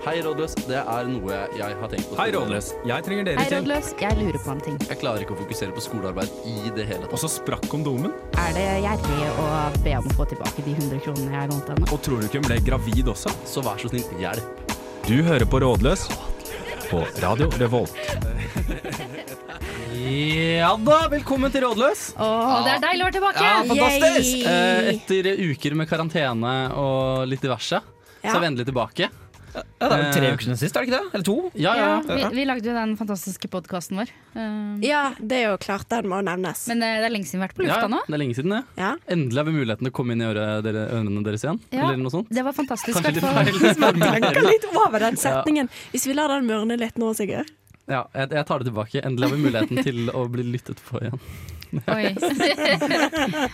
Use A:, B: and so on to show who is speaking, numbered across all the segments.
A: Hei, rådløs. Det er noe jeg har tenkt på.
B: Hei, Rådløs. Jeg trenger dere
C: Hei,
B: til.
C: rådløs. Jeg lurer på en ting.
A: Jeg klarer ikke å fokusere på skolearbeid i det hele tatt.
B: Og så sprakk kondomen.
C: Er det gjerrig å be om å få tilbake de 100 kronene jeg lånte henne?
B: Og tror du ikke hun ble gravid også?
A: Så vær så snill, hjelp.
B: Du hører på Rådløs på Radio Revolt. Ja da, velkommen til Rådløs.
C: Åh, det er deilig å være tilbake!
B: Ja, fantastisk!
C: Yay!
D: Eh, etter uker med karantene og litt diverse, så
C: Ja.
D: er vi endelig tilbake.
B: Ja, det er jo tre
D: Eh,
B: uker siden sist, er det ikke det? Eller to?
D: Ja, ja.
E: Ja, vi, vi lagde jo den fantastiske podkasten vår. Eh,
C: Ja, det er jo klart. Den må nevnes.
E: Men eh, det er lenge siden vi har vært på
D: ja,
E: lufta nå.
D: det er lenge siden, det.
C: Ja.
D: Endelig har vi muligheten til å komme inn i øret dere, ørene deres igjen.
E: Ja.
D: Eller noe sånt.
E: Det var fantastisk.
D: Kanskje litt
E: hvertfall.
D: feil.
C: Tenker litt over den setningen. Hvis vi lar den mørne litt nå, Sigurd.
D: Ja, jeg, jeg tar det tilbake. Endelig har vi muligheten til å bli lyttet på igjen.
E: Oi.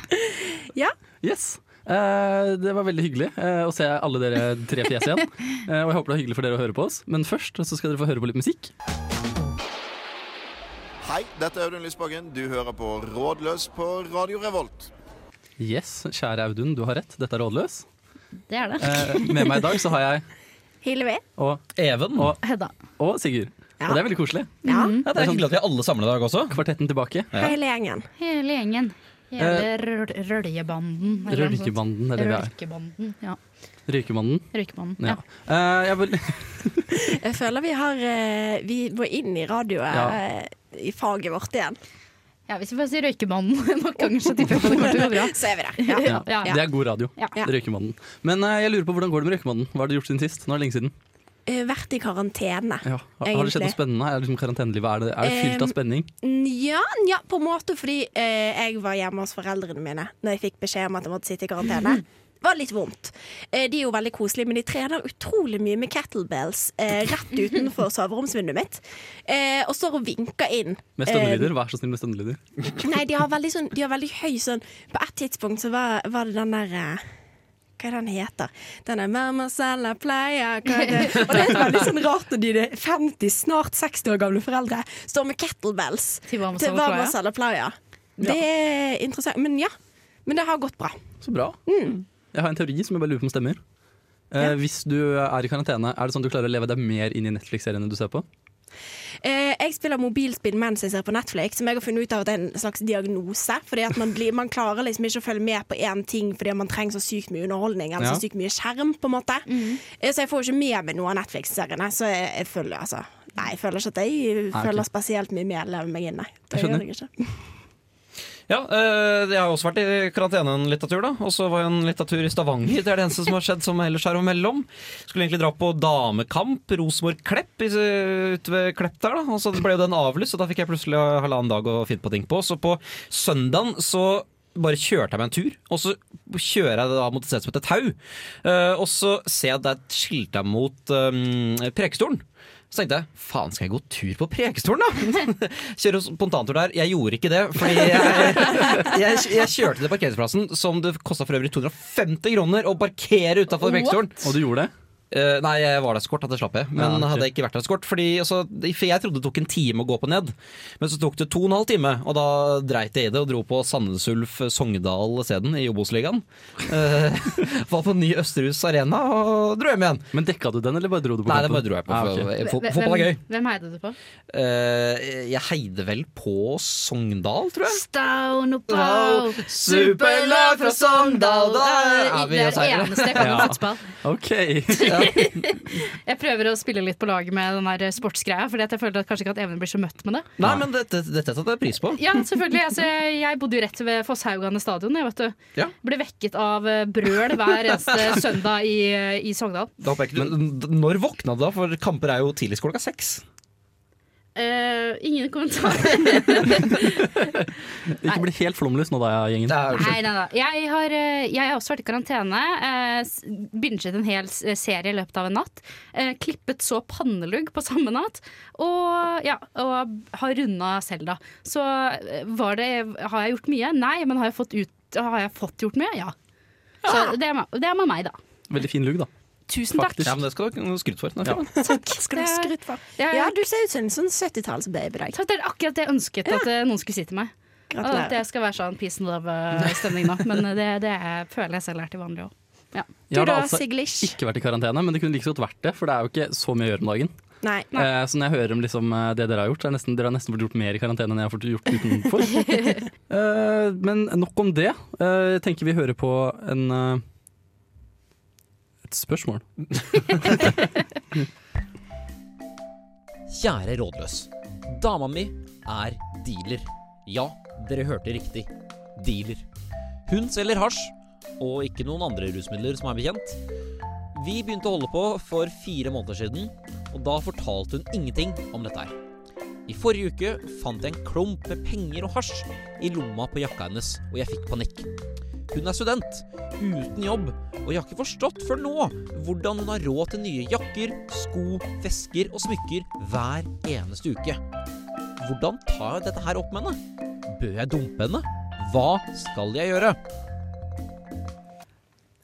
C: Ja.
D: Yes. Eh, det var veldig hyggelig eh, å se alle dere tre fjes igjen. Eh, og jeg håper det er hyggelig for dere å høre på oss. Men først så skal dere få høre på litt musikk.
F: Hei, dette er Audun Lysbakken. Du hører på Rådløs på Radio Revolt.
D: Yes, kjære Audun, du har rett. Dette er Rådløs.
E: Det er det.
D: Eh, med meg i dag så har jeg
C: Hillevi.
D: og,
B: Even.
D: og,
E: Hedda.
D: og Sigurd.
C: Ja.
D: Og det er veldig koselig.
C: Ja.
B: Ja, det er hyggelig at vi er alle sammen i dag også.
D: Kvartetten tilbake.
C: Hele gjengen.
E: Hele gjengen. Hele røl røljebanden. eller noe sånt.
D: Rølkebanden, eller hva Eh. er det?
E: Rølkebanden. Ja.
D: Røykebanden.
E: Røykebanden.
D: Ja.
E: Ja.
D: Eh, jeg vil,
C: Jeg føler vi har eh, Vi må inn i radioet,
D: Ja.
C: eh, i faget vårt igjen.
E: ja, hvis vi bare sier Røykebanden nok ganger, så tipper jeg på det kommer til å gå bra.
C: Så er vi der. Ja.
D: ja,
E: Ja.
D: Det er god radio.
E: Ja.
D: Røykemannen. Men eh, jeg lurer på hvordan går det med Røykemannen? Hva har du gjort siden sist? Nå er det lenge siden.
C: Eh, Vært i karantene.
D: Ja. Har, har det skjedd
C: Egentlig.
D: noe spennende? Er det liksom karantenelivet er det, er det fylt
C: Em,
D: av spenning?
C: Nja, nja, på en måte fordi eh, jeg var hjemme hos foreldrene mine Når jeg fikk beskjed om at jeg måtte sitte i karantene. Var litt vondt. Eh, de er jo veldig koselige, men de trener utrolig mye med kettlebells eh, rett utenfor soveromsvinduet mitt. Eh, og står og vinker inn. eh,
D: Med stønnelyder? Vær så snill med stønnelyder.
C: Nei, de har veldig, sånn, de har veldig høy sånn På et tidspunkt så var, var det den der eh, Hva er det den heter? Den er 'Mamma selger pleier' hva er det? Og det er veldig sånn rart når de de 50, snart 60 år gamle foreldre står med kettlebells
E: Til hva man
C: til
E: skal
C: hva man
E: klare.
C: selger pleier. Det er interessant. Men ja. Men det har gått bra.
D: Så bra. Jeg har en teori som jeg bare lurer på om stemmer. Eh, Hvis du er i karantene, er det sånn at du klarer å leve deg mer inn i Netflix-seriene du ser på?
C: Eh, jeg spiller mobilspill mens jeg ser på Netflix, som jeg har funnet ut av at er en slags diagnose. Fordi at man, blir, man klarer liksom ikke å følge med på én ting fordi man trenger så sykt mye underholdning eller
D: Ja.
C: så sykt mye skjerm, på en måte. Eh, så jeg får ikke med meg noe av Netflix-seriene. Så jeg, jeg føler altså Nei, jeg føler ikke at jeg føler spesielt mye med lever meg inne. Det
D: Jeg
C: gjør
D: skjønner.
C: jeg ikke.
B: Ja, eh, Jeg har også vært i karantene en liten tur, da. Og så var jeg en liten tur i Stavanger. Det er det eneste som har skjedd som ellers er imellom. Skulle egentlig dra på damekamp, Rosenborg-Klepp, i- ute ved Klepp der, da. Og så ble jo den avlyst, og da fikk jeg plutselig halvannen dag å finne på ting på. Så på søndagen så bare kjørte jeg meg en tur, og så kjører jeg da mot et sted som heter Tau. Eh, og så ser jeg at det er et skilt der mot eh, Preikestolen. Så tenkte jeg faen, skal jeg gå tur på Preikestolen, da? Kjøre spontantur der. Jeg gjorde ikke det, fordi jeg, jeg, jeg kjørte til parkeringsplassen, som det kosta for øvrig 250 kroner å parkere utafor Preikestolen.
D: Og du gjorde det?
B: Eh, nei, jeg var der så kort at jeg slapp jeg. Men
D: Ja, ok.
B: hadde jeg ikke vært der så kort fordi, altså, For jeg trodde det tok en time å gå på ned, men så tok det to og en halv time. Og da dreit jeg i det og dro på Sandnes Ulf eh, Sogndal isteden, i Obos-ligaen. Eh, var på ny Østerhus Arena og dro hjem iggen.
D: Men dekka du den, eller bare dro du på
B: Nei, det
D: kampen?
B: bare dro jeg på.
D: Ah,
B: for-
D: ok.
B: fo-
E: Hvem-
B: Fotball er gøy.
E: Hvem heide du på?
B: Eh, jeg heide vel på Sogndal, tror jeg.
E: Stown og
B: Wow, superlag fra Sogndal, da er vi
E: Det er det
B: seire.
E: eneste jeg kan om
D: Ja.
E: fotball.
D: Ok.
E: Jeg prøver å spille litt på laget med den der sportsgreia, Fordi at jeg føler at kanskje ikke at Even blir så møtt med det.
B: Nei, men dette det, dette setter jeg pris på.
E: Ja, selvfølgelig. Altså, jeg jeg bodde jo rett ved Fosshaugane stadion. Jeg vet du.
B: Ja.
E: Ble vekket av eh, brøl hver eneste søndag i, eh, i Sogndal.
B: Da håper jeg ikke du, N- når våkna du da? For kamper er jo tidligst klokka seks.
E: Eh, ingen kommentar.
D: Ikke bli helt flomlys nå da, gjengen.
B: Det er jo
E: Nei, nei, nei. Jeg har, eh, jeg har også vært i karantene. eh, s- Binget en hel s- serie i løpet av en natt. eh, Klippet så pannelugg på samme natt. Og, ja, og har runda Selda. Så eh, var det, har jeg gjort mye? Nei, men har jeg fått, ut, har jeg fått gjort mye? Ja. Så det er, med- det er med meg, da.
D: Veldig fin lugg, da.
E: Tusen takk.
B: Ja, men det skal du ha skryt for. Den er
D: Ja.
B: fin.
C: Skal du ha skryt for?
E: Ja,
C: Ja, du ser ut som en sånn 70-tallsbaby i dag.
E: Takk, det er akkurat det jeg ønsket at eh, noen skulle si til meg. Og at
C: Gratulerer.
E: eh, jeg skal være sånn peace and love-stemning nå. Men eh, det, det er, føler jeg selv er til vanlig òg.
G: Ja.
D: Jeg har
C: du
D: da
C: da,
D: altså
C: Siglish?
D: ikke vært i karantene, men det kunne like så godt vært det, for det er jo ikke så mye å gjøre om dagen.
C: Nei.
D: Eh, så når jeg hører om liksom, eh, det dere har gjort, så er nesten, dere har nesten fått gjort mer i karantene enn jeg har fått gjort utenfor. eh, men nok om det. Eh, jeg tenker vi hører på en eh, et spørsmål.
H: Kjære rådløs. Dama mi er dealer. Ja, dere hørte riktig. Dealer. Hun selger hasj, og ikke noen andre rusmidler som er bekjent. Vi begynte å holde på for fire måneder siden, og da fortalte hun ingenting om dette her. I forrige uke fant jeg en klump med penger og hasj i lomma på jakka hennes, og jeg fikk panikk. Hun er student, uten jobb, og jeg har ikke forstått før nå hvordan hun har råd til nye jakker, sko, vesker og smykker hver eneste uke. Hvordan tar jeg dette her opp med henne? Bør jeg dumpe henne? Hva skal jeg gjøre?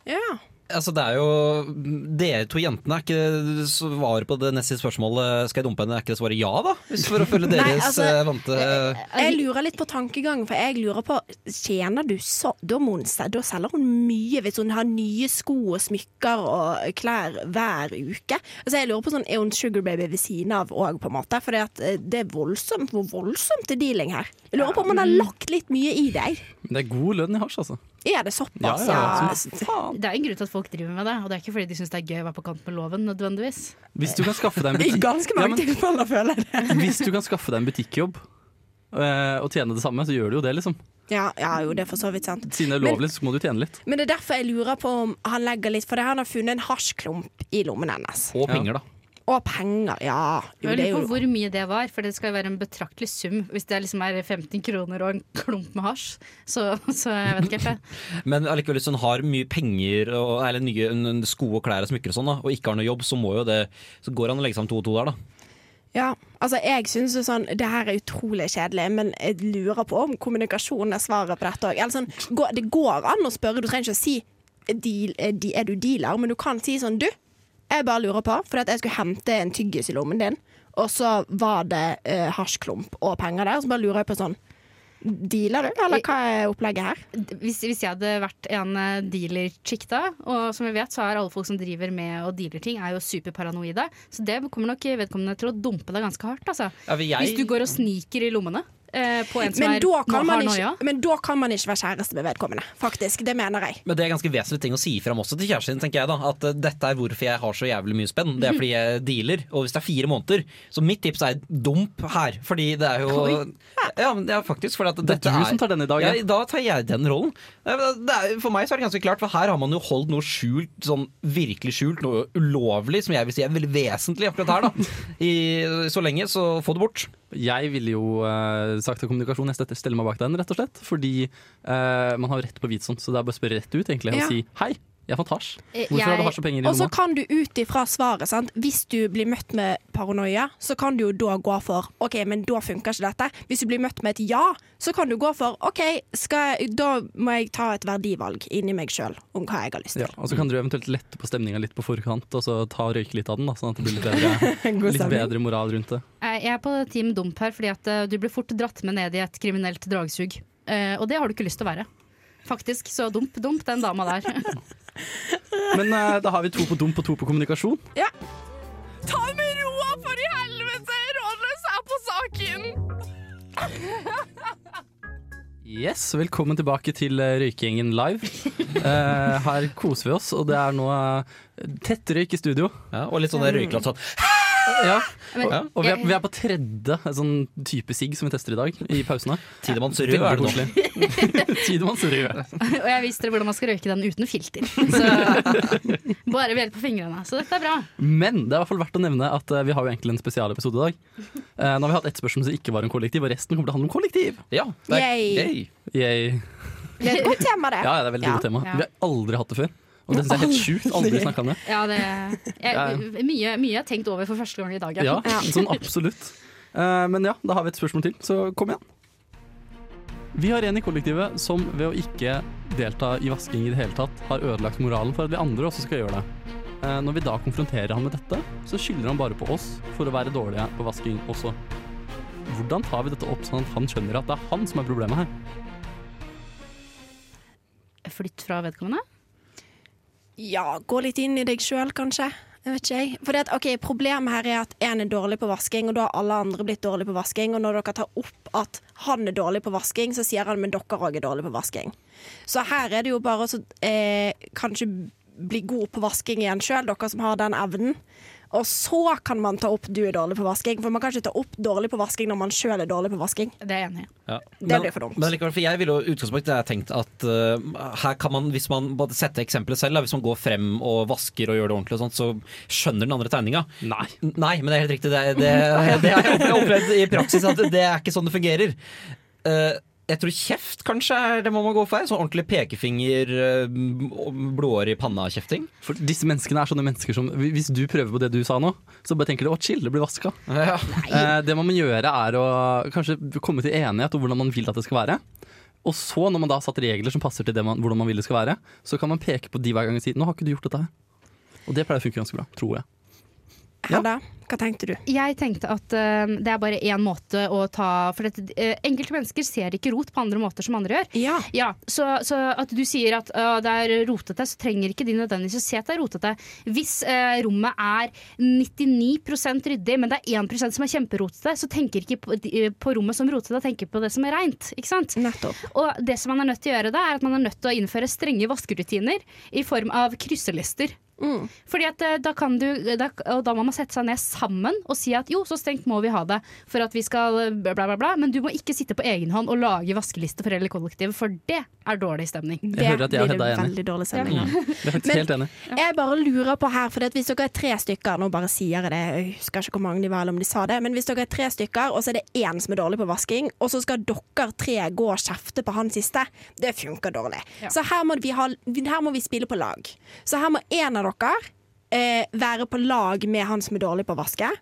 C: Ja.
B: Altså, det er jo Dere to jentene er ikke svaret på det neste spørsmålet. Skal jeg dumpe henne? Er ikke det svaret ja, da? Hvis for å følge
C: Nei,
B: deres
C: altså,
B: eh, vante
C: Jeg lurer litt på tankegangen, for jeg lurer på Tjener du så Da, må hun, se- da selger hun mye hvis hun har nye sko og smykker og klær hver uke. Altså jeg lurer på sånn, Er hun sugar baby ved siden av òg, på en måte? For det er voldsomt hvor voldsomt det er dealing her. Jeg lurer på om hun har lagt litt mye i deg.
D: Men det er god lønn i hasj, altså.
C: Er det såpass?
D: som faen.
G: Det er en grunn til at folk driver med det, og det er ikke fordi de syns det er gøy å være på kant med loven nødvendigvis.
D: Hvis du kan skaffe deg en
C: I
D: butikk
C: ganske
D: Ja,
C: mange
D: men-
C: tilfeller, føler jeg det.
D: Hvis du kan skaffe deg en butikkjobb eh, og tjene det samme, så gjør du jo det, liksom.
C: Ja, ja, jo, det er for så vidt sant.
D: Siden det er
C: Men-
D: ulovlig, så må du tjene litt.
C: Men det er derfor jeg lurer på om han legger litt For det er han har funnet en hasjklump i lommen hennes.
B: og penger, da.
C: Og penger, ja. Jo,
G: Jeg
C: det er
G: lurer på
C: jo
G: hvor mye det var, for det skal jo være en betraktelig sum. Hvis det liksom er 15 kroner og en klump med hasj, så, så jeg vet ikke helt. jeg.
B: Men allikevel, hvis hun har mye penger og, eller nye n- n- sko og klær og smykker og sånn, da, og ikke har noe jobb, så må jo det Så går det an å legge sammen to og to der, da.
C: Ja, altså jeg synes jo sånn Det her er utrolig kjedelig, men jeg lurer på om kommunikasjon er svaret på dette òg. Sånn, gå- det går an å spørre, du trenger ikke å si deal, eh, de- Er du dealer? Men du kan si sånn Du, jeg bare lurer på, fordi at jeg skulle hente en tyggis i lommen din, og så var det eh, hasjklump og penger der, og så bare lurer jeg på sånn Dealer du, eller hva er opplegget her?
G: Hvis, hvis jeg hadde vært en eh, dealer-chick da, og som vi vet, så er alle folk som driver med og dealer ting, er jo superparanoide. Så det kommer nok vedkommende til å dumpe deg ganske hardt, altså.
B: Ja, vil jeg-
G: Hvis du går og sniker i lommene eh, på en som
C: Men
G: er,
C: da, kan
G: har
C: man
G: noia.
C: ikke, men da kan man ikke være kjæreste med vedkommende, faktisk. Det mener jeg.
B: Men det er ganske vesentlig ting å si fram også til kjæresten din, tenker jeg da. At eh, dette er hvorfor jeg har så jævlig mye spenn.
D: Mhm.
B: Det er fordi jeg dealer. Og hvis det er fire måneder, så mitt tips er dump her. Fordi det er jo Ja, men det er faktisk fordi at
D: Det er
B: dette
D: du som tar den i dag,
B: Ja,
D: ja.
B: da tar jeg den rollen. Nei, men Det er, for meg så er det ganske klart, for her har man jo holdt noe skjult, sånn virkelig skjult, noe ulovlig, som jeg vil si er veldig vesentlig akkurat her, da. I, så lenge, så få det bort.
D: Jeg ville jo eh, sagt til kommunikasjon, jeg støtter- stiller meg bak den, rett og slett. Fordi eh, man har jo rett på hvitsom, så det er bare å spørre rett ut, egentlig,
C: Ja.
D: og si hei. Jeg fant hasj.
G: Eh,
D: Hvorfor har
G: jeg-
D: du hasj og penger i
C: Og så
D: lomma?
C: kan du ut ifra svaret, sant? hvis du blir møtt med paranoia, så kan du jo da gå for OK, men da funker ikke dette. Hvis du blir møtt med et ja, så kan du gå for OK, skal jeg, da må jeg ta et verdivalg inni meg sjøl om hva jeg har lyst
D: Ja,
C: til.
D: og så kan dere eventuelt lette på stemninga litt på forkant, og så ta og røyke litt av den, da, sånn at det blir litt bedre,
C: God
D: litt
C: stemning.
D: bedre moral rundt det.
G: Eh, Jeg er på team dump her, fordi at eh, du blir fort dratt med ned i et kriminelt dragsug. Eh, Og det har du ikke lyst til å være. Faktisk, så dump, dump den dama der.
D: Men eh, da har vi to på dump og to på kommunikasjon.
C: Ja. Ta med roa, for i helvete! Rådløs er på saken!
D: Yes, Velkommen tilbake til eh, Røykegjengen live. Eh, her koser vi oss, og det er nå eh, tett røyk i studio.
B: Ja, og litt sånn
D: Mm.
B: der røyklatt sånn.
D: Ja,
G: Men-
D: og, og vi, er, vi er på tredje en sånn type sigg som vi tester i dag, i pausene.
B: Tidemanns rød er det nå.
D: Tidemanns rød.
G: Og jeg viste dere hvordan man skal røyke den uten filter. Så, bare ved hjelp av fingrene. Så dette er bra.
D: Men det er i hvert fall verdt å nevne at eh, vi har jo egentlig en spesialepisode i dag. Eh, nå har vi hatt ett spørsmål som ikke var om kollektiv, og resten kommer til å handle om kollektiv.
B: Ja, det er,
C: Yay.
B: yay.
D: Yay.
C: Det er et godt tema, det.
D: Ja, ja, det er veldig
C: Ja.
D: godt tema.
G: Ja.
D: Vi har aldri hatt det før. Og det synes jeg er helt sjukt. Aldri snakka om det.
G: Ja, det, jeg, mye, mye jeg har tenkt over for første gang i dag.
D: Ja, sånn absolutt. Eh, men ja, da har vi et spørsmål til, så kom igjen. Vi har en i kollektivet som ved å ikke delta i vasking i det hele tatt, har ødelagt moralen for at vi andre også skal gjøre det. Eh, når vi da konfronterer han med dette, så skylder han bare på oss for å være dårlige på vasking også. Hvordan tar vi dette opp sånn at han skjønner at det er han som er problemet her?
G: Flytt fra vedkommende.
C: Ja, gå litt inn i deg sjøl, kanskje. Jeg vet ikke jeg. Fordi at, ok, Problemet her er at én er dårlig på vasking, og da har alle andre blitt dårlige på vasking. Og når dere tar opp at han er dårlig på vasking, så sier han men dere òg er dårlig på vasking. Så her er det jo bare å så, eh, kanskje bli god på vasking igjen sjøl, dere som har den evnen. Og så kan man ta opp 'du er dårlig på vasking', for man kan ikke ta opp 'dårlig på vasking' når man sjøl er dårlig på vasking.
G: Det er jeg enig i.
C: Det blir for dumt.
B: Men likevel, for jeg ville jo i utgangspunktet jeg tenkt at eh, her kan man, hvis man bare setter eksempelet selv, da, hvis man går frem og vasker og gjør det ordentlig og sånt, så skjønner den andre tegninga.
D: Nei.
B: N- Nei, men det er helt riktig. Det, det, det har jeg opplevd- opplevd i praksis, at det er ikke sånn det fungerer. Eh, jeg tror kjeft kanskje er det man må gå for. her, Sånn ordentlig pekefinger, eh, m- blodåre i panna-kjefting.
D: For disse menneskene er sånne mennesker som Hvis du prøver på det du sa nå, så bare tenker du å chill, det blir vaska.
B: Ja.
D: Eh, det man må gjøre, er å kanskje komme til enighet om hvordan man vil at det skal være. Og så, når man da har satt regler som passer til det man, hvordan man vil det skal være, så kan man peke på de hver gang og si 'nå har ikke du gjort dette her'. Og det pleier å funke ganske bra, tror jeg.
C: Hedda, hva tenkte du?
G: Jeg tenkte at eh, det er bare én måte å ta For dette, eh, enkelte mennesker ser ikke rot på andre måter som andre gjør.
C: Ja.
G: Ja, så, så at du sier at «Å, det er rotete, så trenger ikke de nødvendigvis å se at det er rotete. Hvis eh, rommet er 99 ryddig, men det er 1 som er kjemperotete, så tenker ikke på, de, på rommet som rotete, tenker på det som er reint. Ikke sant?
C: Nettopp.
G: Og det som man er nødt til å gjøre da, er at man er nødt til å innføre strenge vaskerutiner i form av krysselister. Fordi at eh, da kan du, da, og da må man sette seg ned sammen og si at jo, så strengt må vi ha det for at vi skal eh, bla, bla, bla, bla. Men du må ikke sitte på egen hånd og lage vaskeliste for hele kollektivet, for det er dårlig stemning.
C: Det
D: hører at jeg og
C: blir
D: Hedda er enig.
C: veldig dårlig stemning.
D: Jeg er faktisk
C: Men-
D: helt enig.
C: Jeg bare lurer på her, for hvis dere er tre stykker Nå bare sier jeg det, jeg husker ikke hvor mange de var eller om de sa det Men hvis dere er tre stykker, og så er det én som er dårlig på vasking Og så skal dere tre gå og kjefte på han siste Det funker dårlig Så her må, vi ha, her må vi spille på lag Så her må en av dere eh, være på lag med han som er dårlig på å vaske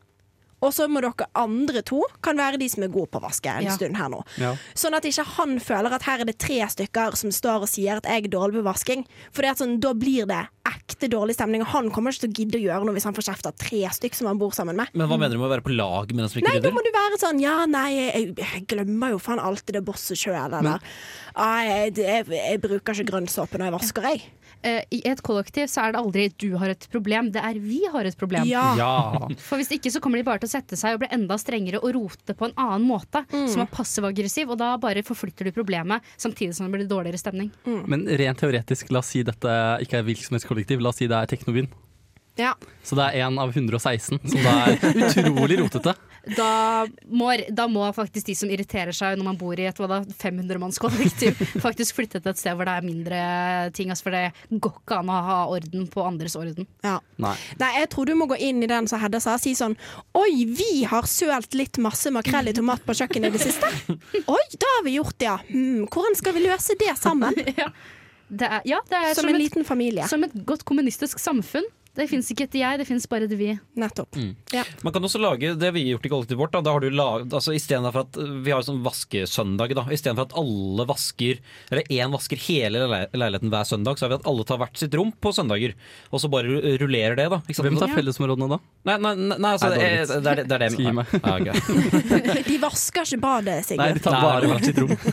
C: og så må dere andre to kan være de som er gode på å vaske en
G: Ja.
C: stund her nå.
D: Ja.
C: Sånn at ikke han føler at her er det tre stykker som står og sier at jeg er dårlig på vasking. For det at sånn, da blir det ekte dårlig stemning, og han kommer ikke til å gidde å gjøre noe hvis han får kjeft av tre stykk som han bor sammen med.
B: Men hva mener du med å være på lag med den som ikke
C: Nei, da
B: rydder?
C: må du være sånn Ja, nei, jeg, jeg glemmer jo faen alltid det bosset sjøl, eller «Ah, jeg, jeg, jeg bruker ikke grønnsåpe når jeg vasker, jeg.
G: Eh, I et kollektiv så er det aldri du har et problem, det er vi har et problem.
C: Ja.
D: Ja.
G: For hvis ikke så kommer de bare til å sette seg og bli enda strengere og rote på en annen måte, som er passiv-aggressiv, og da bare forflytter du problemet samtidig som det blir dårligere stemning.
C: Mm.
D: Men rent teoretisk, la oss si dette ikke er virksomhetskollektiv, la oss si det er Teknobyen.
C: ja.
D: Så det er én av 116 som da er utrolig rotete.
G: Da må, da må faktisk de som irriterer seg når man bor i et 500-mannskollektiv, faktisk flytte til et sted hvor det er mindre ting. Altså for det går ikke an å ha orden på andres orden.
C: ja.
D: Nei.
C: Nei, jeg tror du må gå inn i den som Hedda sa, si sånn Oi, vi har sølt litt masse makrell i tomat på kjøkkenet i det siste. Oi, da har vi gjort det, ja. Hmm, hvordan skal vi løse det sammen?
G: Det er, ja, det er
C: Som en liten familie.
G: som et godt kommunistisk samfunn. Det fins ikke et jeg, det fins bare et vi.
C: Nettopp.
B: Mm.
C: Ja.
B: Man kan også lage det vi har gjort i kollektivet vårt. Da, da har du lag, altså, i stedet for at Vi har jo sånn vaskesøndag. da. Istedenfor at alle vasker Eller én vasker hele le- leiligheten hver søndag, så har vi at alle tar hvert sitt rom på søndager. Og så bare ru- rullerer det, da. Ikke sant?
D: Hvem tar fellesområdene da?
B: Nei, nei, nei, nei altså,
D: Nei, dårlig
B: eh,
D: vits.
B: det, er det- det er det
D: Skal gi meg.
B: Ja, ok.
C: De vasker ikke badet,
D: Nei, de
C: Sigurd.
D: tar
B: Nei.
D: bare hvert sitt rom.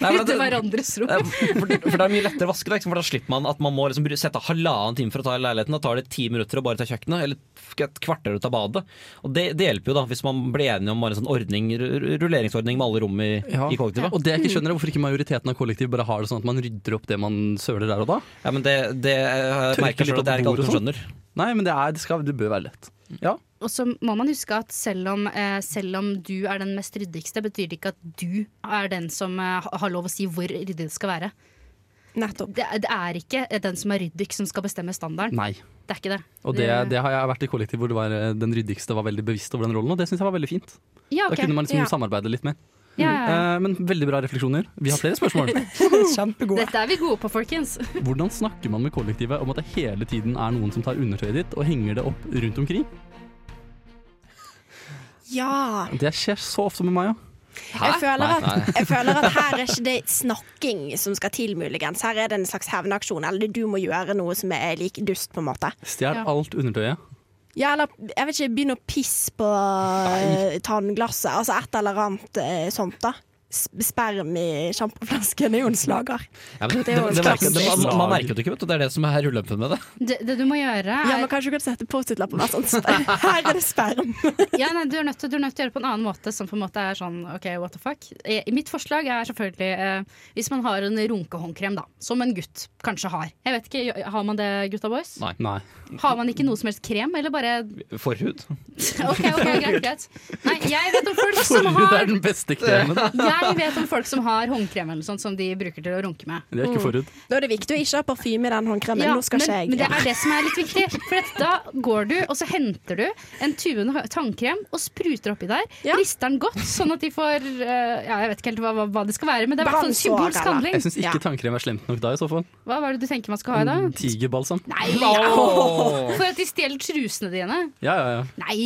B: Nei, men
G: Ute i
B: det-
G: hverandres rom.
B: Eh, For, for det er mye lettere å vaske, da, ikke sant? for da slipper man at man må liksom bry- sette halvannen time for å ta i leiligheten. Da tar det ti minutter å bare ta kjøkkenet, eller et kvarter å ta badet. Og det, det hjelper jo, da, hvis man blir enige om bare en sånn ordning, ru- rulleringsordning med alle rom i, i kollektivet.
D: Og det jeg ikke skjønner er hvorfor ikke majoriteten av kollektiv bare har det sånn at man rydder opp det man søler der og da.
B: Ja, men det, det eh,
D: Tørke
B: merker
D: litt
B: jeg selv at det er ikke
D: opp
B: alle
D: bordet
B: som skjønner.
D: Nei, men det, er, det, skal, det bør være lett. Ja.
G: Og så må man huske at selv om, eh, selv om du er den mest ryddigste, betyr det ikke at du er den som eh, ha- har lov å si hvor ryddig det skal være.
C: Nettopp.
G: Det, er- det er ikke eh, den som er ryddig som skal bestemme standarden.
D: Nei.
G: Det er ikke det.
D: Og det, det har jeg vært i kollektiv hvor det var, eh, den ryddigste var veldig bevisst over den rollen, og det syns jeg var veldig fint.
G: Ja, ok.
D: Da kunne man liksom
C: ja.
D: samarbeide litt mer.
G: ja, ja, ja.
D: Eh, men veldig bra refleksjoner. Vi har flere spørsmål. Kjempegode.
G: Dette er vi gode på, folkens.
D: Hvordan snakker man med kollektivet om at det hele tiden er noen som tar undertøyet ditt og henger det opp rundt omkring?
C: Ja.
D: Det skjer så ofte med meg òg.
C: Jeg føler,
B: Nei,
C: at, jeg føler at her er ikke det snakking som skal til, muligens. Her er det en slags hevnaksjon. Eller du må gjøre noe som er like dust, på en måte.
D: Stjel
G: Ja.
D: alt undertøyet.
C: Ja, eller jeg vet ikke, begynne å pisse på eh, tannglasset. Altså et eller annet eh, sånt, da. sp- sperm i sjampoflasken er jo en slager.
B: Ja, men det,
C: Det er jo
B: det, det,
C: en
B: merker, det, man,
C: klassisk.
B: man merker det ikke, vet du. Det er det som er ulempen med det.
G: Det, det du må gjøre,
C: Ja,
G: er
C: men Kanskje du kan sette Post-It-lappen og være sånn sp- Her er det sperm!
G: ja, nei, du, er nødt til, du er nødt til å gjøre det på en annen måte, som på en måte er sånn OK, what the fuck. Eh, Mitt forslag er selvfølgelig eh, hvis man har en runkehåndkrem, da. Som en gutt kanskje har. Jeg vet ikke, Har man det, gutta boys?
B: Nei.
D: Nei.
G: Har man ikke noe som helst krem, eller bare
B: Forhud.
G: OK, ok, greit. greit. Nei, jeg vet om folk som
D: Forhud er
G: har
D: den beste kremen.
G: Jeg vet om folk som har håndkrem eller sånt som de bruker til å runke med.
D: Det er ikke forhud.
C: Nå er det viktig å ikke ha parfyme i den håndkremen.
G: Ja,
C: Nå skal
G: men,
C: ikke jeg
G: men det er det som er litt viktig. For at da går du, og så henter du en tube med tannkrem og spruter oppi der.
C: Ja.
G: Rister den godt, sånn at de får eh, ja, Jeg vet ikke helt hva, hva, hva det skal være, men det er i hvert fall en
C: Brannsår,
G: symbolsk
C: eller?
G: handling.
D: Jeg syns ikke tannkrem er slemt nok da, i så fall.
G: Hva var det du tenker man skal ha i dag?
D: Tigerbalsam.
G: Nei!
D: Mm.
G: For at de stjeler trusene dine.
D: Ja, ja, ja.
G: Nei!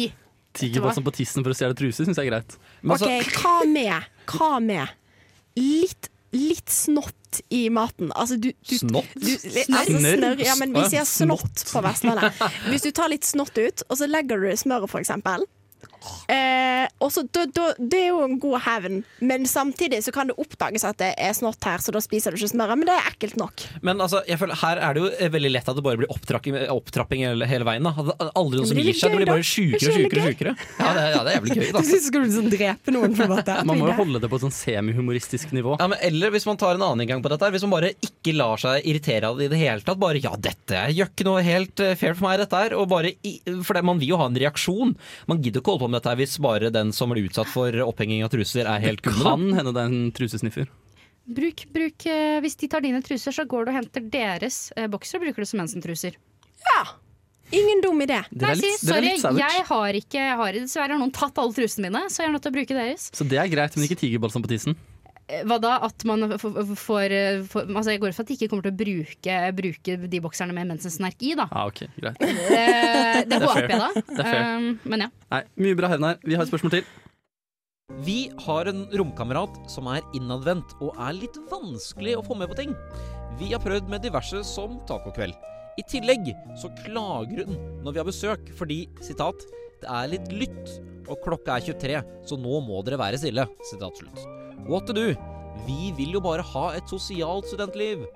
D: Tigerbalsam på tissen for å stjele truser syns jeg er greit.
B: Men altså,
C: OK, hva med? Hva med? Litt, litt snott i maten. Altså, du, du
B: Snott?
C: Du, altså,
D: Snørr?
C: snørr, ja, men vi
D: Å, ja,
C: sier snott på Vestlandet. Hvis du tar litt snott ut, og så legger du det i smøret, for eksempel. Eh, og så, da, da, det er jo en god hevn, men samtidig så kan det oppdages at det er snott her, så da spiser du ikke smøret. Men det er ekkelt nok.
B: men altså, jeg føler, her er det jo eh, veldig lett at det bare blir opptrakking- opptrapping hele, hele veien. Da. At det er Aldri
C: Men
B: noen som
C: det er
B: gir seg.
C: gøy,
B: Det blir
C: da.
B: bare sjukere og
C: Det er
B: sjukere. og sjukere. Ja, det, er- ja, det er jævlig gøy, da.
C: syns du skal drepe noen, på en måte.
D: Man må jo holde det på et sånn semihumoristisk nivå.
B: Ja, men Eller hvis man tar en annen inngang på dette, her, hvis man bare ikke lar seg irritere av det i det hele tatt. Bare 'ja, dette gjør ikke noe helt eh, fair for meg', dette her. Og bare, i- for det, man vil jo ha en reaksjon. Man gidder ikke holde på med dette her hvis bare den som blir utsatt for opphenging av truser, er helt kumme. da.
D: Kan hende det er en trusesniffer.
G: Bruk, bruk, eh, hvis de tar dine truser, så går du og henter deres eh, bokser og bruker det som mensentruser.
C: Ja. Ingen dum idé.
D: Dere er
G: Nei,
D: litt,
G: si,
D: dere er
G: sorry,
D: litt savage.
G: jeg har ikke jeg har, Dessverre har noen tatt alle trusene mine, så jeg er nødt til å bruke deres.
D: Så det er greit, men ikke tigerbalsam på tissen.
G: Eh, Hva da? At man f- f- får eh, får- Altså, jeg går ut fra at de ikke kommer til å bruke, bruke de bokserne med mensensnerk i, da.
D: Ja, ok, greit.
G: Eh, det håper jeg, da.
D: er fair.
G: Um, men ja.
D: Nei, Mye bra hevn her. Vi har et spørsmål til.
H: Vi har en romkamerat som er innadvendt og er litt vanskelig å få med på ting. Vi har prøvd med diverse som tacokveld. I tillegg så klager hun når vi har besøk fordi, sitat, det er litt lytt, og klokka er 23, så nå må dere være stille, sitat slutt. What to do? Vi vil jo bare ha et sosialt studentliv.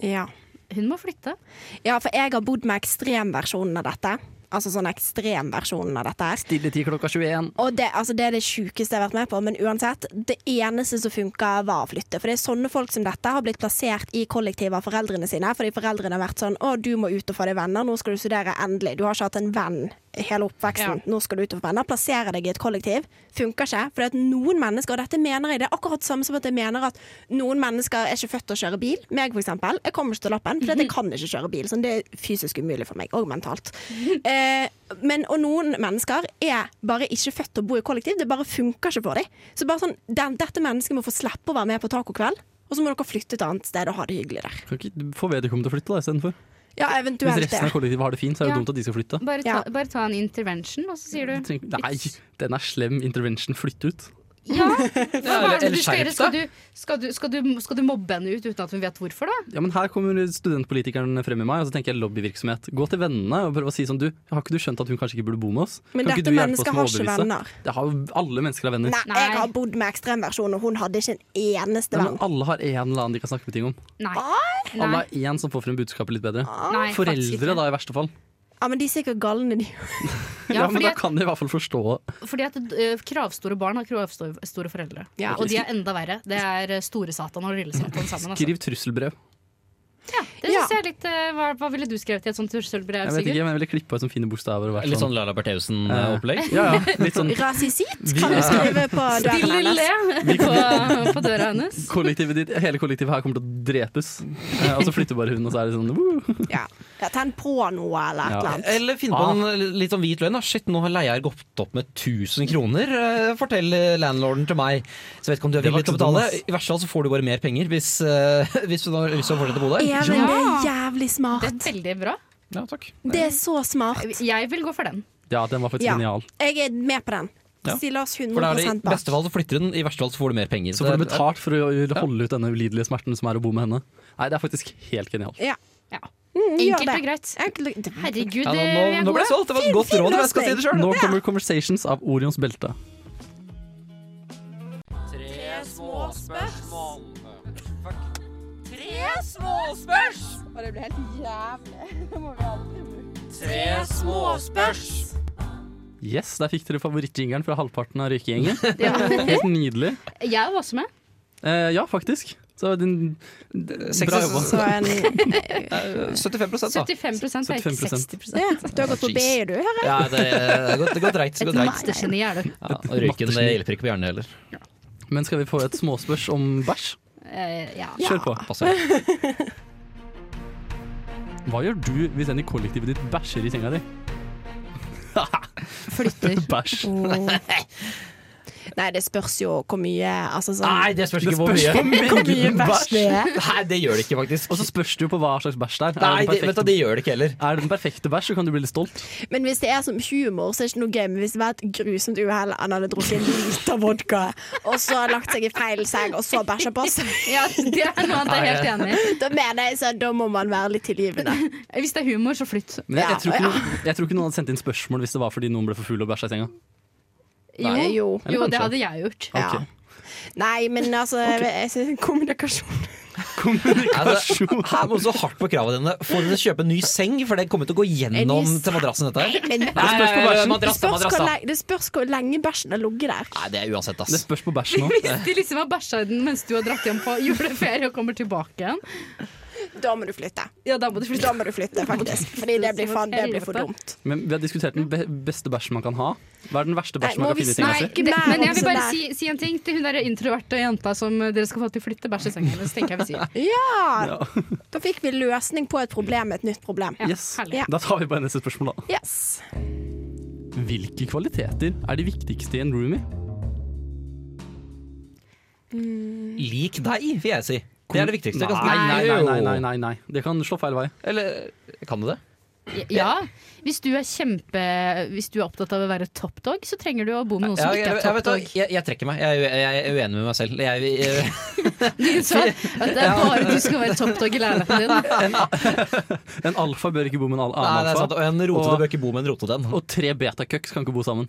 C: Ja.
G: Hun må flytte.
C: ja, for jeg har bodd med ekstremversjonen av dette. Altså sånn ekstremversjonen av dette her.
D: Stille til klokka 21.
C: Og det, altså det er det sjukeste jeg har vært med på, men uansett. Det eneste som funka, var å flytte. For det er sånne folk som dette har blitt plassert i kollektiv av foreldrene sine. Fordi foreldrene har vært sånn 'Å, du må ut og få deg venner. Nå skal du studere. Endelig.' Du har ikke hatt en venn hele oppveksten. Nå skal du ut og få venner. Plassere deg i et kollektiv. Funker ikke. For at noen mennesker, og dette mener jeg, det er akkurat samme som at jeg mener at noen mennesker er ikke født til å kjøre bil. Meg, for eksempel. Jeg kommer ikke til lappen, for at jeg kan ikke kjøre bil. Sånn, det er fysisk umulig for meg, og mentalt. Eh, men, og noen mennesker er bare ikke født til å bo i kollektiv. Det bare funker ikke for dem. Så bare sånn, den, dette mennesket må få slippe å være med på tacokveld. Og så må dere flytte et annet sted og ha det hyggelig der.
D: Kan ikke få vedkommende til å flytte da, istedenfor.
C: Ja,
D: Hvis
C: eventuelt det.
D: resten av kollektivet har det fint, så er det
G: Ja.
D: dumt at de skal flytte.
G: Bare ta,
C: Ja.
G: bare ta en intervention, og så sier
D: Du
G: du
D: trenger- Nei, den er slem intervention. Flytt ut.
G: Ja! Hva er det
B: eller
G: du skal gjøre?
B: skjerp
G: Skal du, skal, du, skal, du, skal du mobbe henne ut uten at hun vet hvorfor, da?
D: Ja, men Her kommer studentpolitikeren frem i meg, og så tenker jeg lobbyvirksomhet. Gå til vennene og prøv å si sånn du, har ikke du skjønt at hun kanskje ikke burde bo med oss?
C: Men
D: kan ikke
C: dette
D: du hjelpe oss
C: mennesket
D: med å
C: har ikke
D: overbevise?»
C: venner.
D: Det har jo alle mennesker har venner.
C: Nei,
G: Nei.
C: jeg har bodd med ekstremversjonen, og hun hadde ikke en eneste
D: Nei, men
C: venn.
D: alle har en eller annen de kan snakke med ting om.
G: Nei.
D: Alle
G: Nei.
D: har én som får frem budskapet litt bedre.
G: Nei, faktisk ikke.
D: Foreldre, da, i verste fall.
C: Ja, men de er sikkert galne, de.
D: Ja,
G: Ja,
D: men
G: fordi
D: da
G: at,
D: kan de i hvert fall forstå
G: fordi at eh, Kravstore barn har kravstore store foreldre.
C: Ja.
G: Og de er enda verre. Det er eh, store Satan og lille Satan sammen. Altså.
D: Skriv trusselbrev.
G: Ja, det synes
C: Ja.
G: jeg er litt eh, hva, hva ville du skrevet i et sånt trusselbrev,
D: Jeg vet
G: Sigurd?
D: ikke, men jeg ville klippa ut sånne fine bokstaver. Og vært
B: Litt sånn eh, Lala Bertheussen-opplegg.
D: Ja, ja, litt sånn
C: Rasisitt
D: Vi-
C: kan du skrive på døren
G: Stille
C: hennes.
G: le på, på døra hennes.
D: kollektivet ditt, Hele kollektivet her kommer til å drepes. Eh, Og så flytter bare hun, og så er det sånn woo.
C: Ja. Ja, tenn på noe eller et
D: Ja.
C: eller annet.
B: Eller finne
D: Ah.
B: på en litt sånn hvit løgn. da. Shit, nå har leia gått opp med 1000 kroner, eh, fortell eh, landlorden til meg. Så jeg vet ikke om du er
D: Det var
B: villig til å
D: ikke så
B: betale.
D: dumt, ass.
B: I verste fall så får du bare mer penger hvis, eh, hvis du da- hvis du fortsetter å bo der.
C: Ja, men det er
G: Ja.
C: jævlig
G: Det er
C: smart.
G: veldig bra.
B: Ja, takk.
C: Det er så smart.
G: Jeg vil gå for den.
D: Ja, den var faktisk
C: Ja.
D: genial.
C: Jeg er med på den.
B: Ja.
C: Stiller oss
B: For da er
C: 100
B: det I
C: bak.
B: beste fall så flytter hun, i verste fall så får du mer penger.
D: Så får du
B: Det er-
D: betalt for å holde ut denne ulidelige smerten som er å bo med henne. Nei, det er faktisk helt genialt.
C: Ja.
G: Ja.
C: Mm, gjør
G: Enkelt og greit.
C: Enkelt og greit.
G: Herregud,
B: Ja, nå,
G: eh, vi
B: nå,
G: er
B: nå ble
G: gode.
B: det solgt! Det var et godt
C: Fin
B: råd. om Jeg skal si
C: løsning.
B: det selv.
D: Nå kommer Conversations av Orions belte.
H: Tre
C: småspørsmål. Tre småspørs!
I: Og det blir helt jævlig. Det må vi aldri bruke.
C: Tre småspørs!
D: Yes, der fikk dere favorittjingeren fra halvparten av røykegjengen.
G: Ja.
D: Helt nydelig.
G: Jeg var også med.
D: Eh, ja, faktisk. Så din, bra jobba.
C: Så en,
B: 75 da.
G: 75 er ikke
D: 75%.
G: 60
C: ja, du har gått på BI, du, hører jeg.
B: Ja, det, det går- det går dreit. Det
G: Et
B: går dreit.
G: mastergeni er du.
H: Ja, og røyken det hjelper ikke på hjernen heller.
D: Men skal vi få et småspørs om bæsj?
G: Eh, ja.
D: Kjør på.
H: Passer.
D: Hva gjør du hvis en i kollektivet ditt bæsjer i senga di?
G: Flytter.
D: Bæsj.
C: Nei, det spørs jo hvor mye altså, sånn,
H: Nei, det spørs
D: Det
H: ikke hvor
D: spørs på
H: mye.
D: mengden bæsj.
C: det er.
H: Nei, det gjør det ikke, faktisk.
D: Og så spørs det jo på hva slags bæsj det er.
H: Nei,
D: er, det
H: det,
D: den
H: vet du,
D: perfekte,
H: det gjør det ikke heller.
D: er det den perfekte bæsj, så kan du bli litt stolt.
C: Men hvis det er som humor, så er det ikke noe gøy. Men hvis det var et grusomt uhell, han hadde drukket en liter vodka, og så lagt seg i feil seng, og så bæsja på seg,
G: Ja, det er noe annet jeg er helt enig i. Eh,
C: da mener jeg sånn, da må man være litt tilgivende.
G: Hvis det er humor, så flytt.
D: Men jeg,
C: Ja,
D: jeg, tror ikke,
C: ja.
D: noen- jeg tror ikke noen hadde sendt inn spørsmål hvis det var fordi noen ble for full og bæsja i senga.
G: Jo,
C: Nei,
G: jo,
C: jo.
D: Eller
G: det
D: kanskje.
G: hadde jeg gjort.
C: Ja.
D: Ok.
C: Nei, men altså jeg synes Kommunikasjon.
H: Altså, her må du så hardt på kravene dine. Få deg til å kjøpe en ny seng, for det kommer til å gå
C: En ny
H: gjennom
C: seng?
H: til madrassen. Dette. her.
C: Men
H: Nei,
D: spørs på
H: nei, nei,
D: bæsjen.
C: det
H: madrass, da,
C: spørs,
H: madrass,
C: hvor
H: da.
C: lenge, det spørs hvor lenge bæsjen har ligget der.
H: Nei, det er uansett,
D: Det
H: ass.
D: spørs på bæsjen òg.
G: Hvis de liksom har bæsja i den mens du har dratt hjem på juleferie og kommer tilbake igjen,
C: Da må du flytte.
G: ja, da må du
C: Da
G: flytte.
C: må du flytte, faktisk. Fordi det blir, faen, det blir for dumt.
D: Men vi har diskutert den be beste bæsjen man kan ha. Hva er den verste bæsjen
C: Nei,
D: man
C: må
D: kan finne
C: vi
D: i senga
C: snakke-
D: si?
G: Det, men jeg vil bare si, si en ting til hun der introverte jenta som dere skal få til å flytte bæsj i senga hennes. tenker jeg vi sier.
C: Ja! Da fikk vi løsning på et problem med et nytt problem.
G: Ja,
D: Yes.
G: herlig.
C: Ja.
D: Da tar vi bare neste spørsmål, da.
C: Yes.
D: Hvilke kvaliteter er de viktigste i en roomie?
H: Lik deg, vil jeg si. Det er det viktigste.
D: Nei,
H: ganske-
D: nei, nei, nei, nei, nei, nei. Det kan slå feil vei.
H: Eller kan du det?
G: Ja, Hvis du er kjempe Hvis du er opptatt av å være top dog, så trenger du å bo med noen
H: Ja,
G: som
H: jeg,
G: ikke
H: jeg,
G: er
H: vet
G: top
H: da,
G: dog.
H: jeg, jeg trekker meg. Jeg, er u- jeg er uenig med meg selv. Jeg, jeg,
G: Så at det er bare du skal være top dog i leiligheten din.
D: En alfa bør ikke bo med en al-
H: nei,
D: annen
H: det er sant.
D: alfa.
H: altså. Og en rotete
D: Og-
H: bør ikke bo med en rotete en.
D: Og tre betakøks kan ikke bo sammen.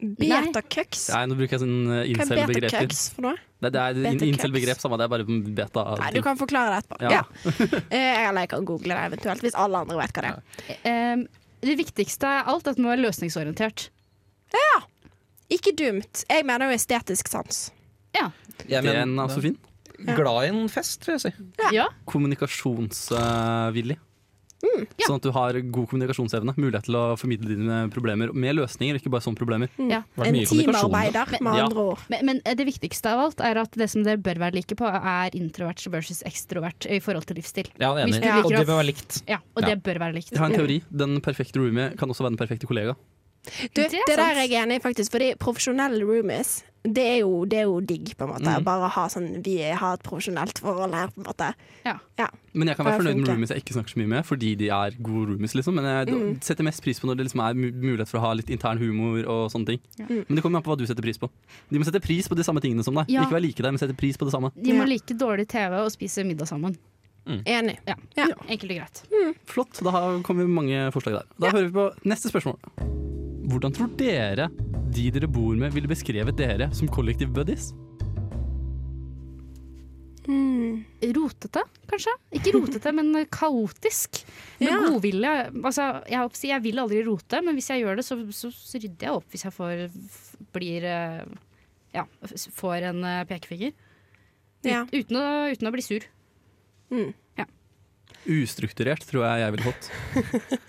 C: Beta-cucks.
D: Nei, nå bruker jeg sånn, eh, sånne
C: Hva er
D: incel-begreper.
C: beta-cucks for noe?
D: Det, det er
C: Beta-cucks?
D: incel-begrep, samme det er bare beta.
C: Nei, du kan forklare det etterpå.
D: Ja.
C: Ja. Eh, Eller jeg kan google det eventuelt, hvis alle andre vet hva det er.
G: Ehm, det viktigste av alt er at man må være løsningsorientert.
C: Ikke dumt. Jeg mener jo estetisk sans.
G: Ja.
H: Jeg
D: Det er en
H: mener,
D: altså fin.
H: glad i en fest, vil jeg si.
G: ja.
D: Kommunikasjonsvillig.
G: ja.
D: Sånn at du har god kommunikasjonsevne. Mulighet til å formidle dine problemer med løsninger, ikke bare som problemer.
G: ja.
H: Vært
C: En
H: mye kommunikasjon, da.
C: teamarbeider, med
D: Ja.
C: andre ord.
G: Men, men det viktigste av alt er at det som dere bør være like på, er introvert versus ekstrovert i forhold til livsstil.
H: Ja, jeg er
G: Hvis
H: enig.
G: du liker
H: Og det
G: å-
H: bør være likt.
G: Ja, Og det bør være likt.
D: Jeg har en teori. Den perfekte roomie kan også være den perfekte kollega.
C: Du,
G: Det er
C: det, der
G: sant.
C: er jeg enig i, faktisk. Fordi profesjonelle roomies, det er jo, det er jo digg, på en måte. Bare ha sånn Vi har et profesjonelt forhold her, på en måte.
G: Ja.
C: Ja.
D: Men jeg kan være
C: Det er
D: fornøyd med
C: fint, ja.
D: roomies jeg ikke snakker så mye med, fordi de er gode roomies, liksom. Men jeg setter mest pris på når det liksom er mu- mulighet for å ha litt intern humor og sånne ting. Men det kommer an på hva du setter pris på. De må sette pris på de samme tingene som deg.
G: Ja.
D: Ikke være like deg, men sette pris på det samme.
G: De må
C: Ja.
G: like dårlig TV og spise middag sammen.
C: Enig.
G: Ja,
C: Ja.
G: Enkelt og greit.
D: Flott. Da har- kommer vi med mange forslag der. Da hører vi på neste spørsmål. Hvordan tror dere de dere bor med, ville beskrevet dere som kollektiv buddies?
C: Mm.
G: Rotete, kanskje? Ikke rotete, men kaotisk. Med
C: Ja.
G: godvilje. Altså, jeg, håper å si, jeg vil aldri rote, men hvis jeg gjør det, så, så rydder jeg opp hvis jeg får f- blir eh, ja, f- får en eh, pekefinger. Ut,
C: Ja. Mm.
G: uten, å, uten å bli sur.
D: Ustrukturert, tror jeg jeg ville fått.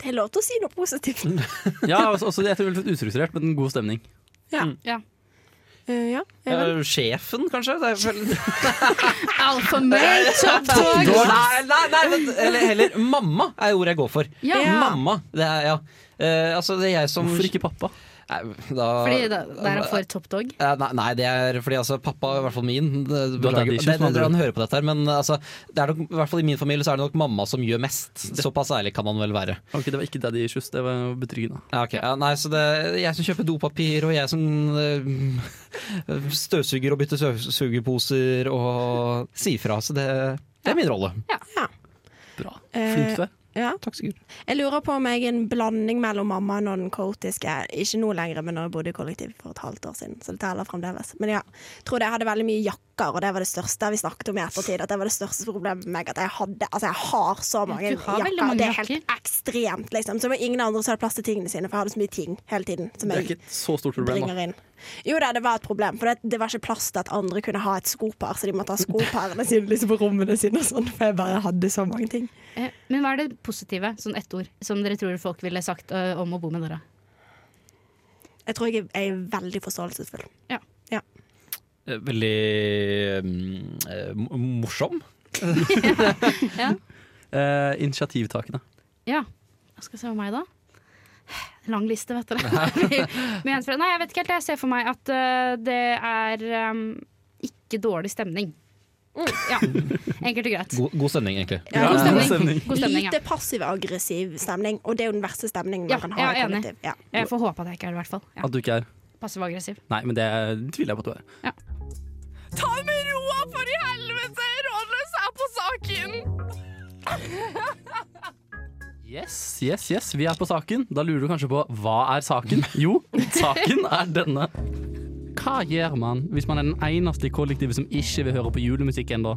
C: Det er lov til å si noe positivt.
D: Ja, også, også, jeg tror jeg ville fått ustrukturert, men god stemning.
G: Ja.
C: Eh, ja. jeg vet.
H: Eh, Sjefen, kanskje? Det er vel-
G: Alfa male, top
H: Nei,
G: dog!
H: nei, nei vent. Eller heller mamma er ordet jeg går for.
G: Ja.
H: Mamma. Det er, ja. Eh, altså, det er jeg som
D: Hvorfor ikke pappa?
H: Nei, da,
G: Fordi da, der er han for top dog.
H: Eh, Nei, nei, det er fordi altså, pappa, i hvert fall min det- Beklager,
D: daddy
H: det,
D: issues,
H: det,
D: med andre
H: Han hører på dette her, men altså, det er nok, i hvert fall i min familie så er det nok mamma som gjør mest. Såpass ærlig kan man vel være.
D: Ok, Det var ikke daddy issues, det var betryggende.
H: Ja, ok. ja, nei, så det er jeg som kjøper dopapir, og jeg som eh, støvsuger og bytter støvsugerposer og sier fra. Så det, det er min rolle.
C: Ja.
D: Bra.
C: Eh,
D: Flink du er.
C: Ja.
B: Takk, Sigurd.
C: Jeg lurer på om jeg er en blanding mellom mammaen og den kaotiske. Ikke nå lenger, men når jeg bodde i kollektiv for et halvt år siden. Så det teller fremdeles. Men ja, tror det jeg hadde veldig mye jakker, og det var det største vi snakket om i ettertid. At det var det største problemet med meg. At jeg hadde Altså, jeg har så mange
G: du har veldig
C: jakker.
G: mange
C: det er helt
G: jakker.
C: ekstremt, liksom. Så det var ingen andre som hadde plass til tingene sine, for jeg hadde så mye ting hele tiden. Som
D: Det er
C: jeg
D: ikke et så stort problem.
C: bringer
D: Da.
C: inn. Jo da, det var et problem, for det, det var ikke plass til at andre kunne ha et skopar, så de måtte ha skopærene sine liksom, på rommene sine og sånn, for jeg bare hadde så mange ting.
G: Eh, Men hva er det positive, sånn ett ord, som dere tror folk ville sagt eh, om å bo med dere?
C: Jeg tror jeg er- jeg er veldig forståelsesfull.
B: Eh, Veldig mm, eh, m- morsom.
D: Eh, initiativtakende.
G: Ja, hva skal jeg se på meg da? Lang liste, vet dere. Men jeg tror- Nei, jeg vet ikke helt. Jeg ser for meg at eh, det er em, ikke dårlig stemning.
J: Mm.
G: Ja, enkelt og greit.
B: God, god stemning, egentlig.
C: Ja,
G: God stemning.
D: god stemning.
G: God stemning ja.
C: Lite passiv-aggressiv stemning, og det er jo den verste stemningen
G: Ja,
C: man kan
G: jeg
C: ha
G: er
C: i
G: enig.
C: kollektiv. Ja.
G: Jeg får håpe at jeg ikke er det, i hvert fall. Ja.
D: At du ikke er
G: Passiv aggressiv.
D: Nei, men det tviler jeg på at du er.
J: Ta med roa, for i helvete! Rådløs er på saken!
D: Yes, yes, yes, vi er på saken. Da lurer du kanskje på hva er saken? Jo, saken er denne. Hva gjør man hvis man er den eneste i kollektivet som ikke vil høre på julemusikk ennå?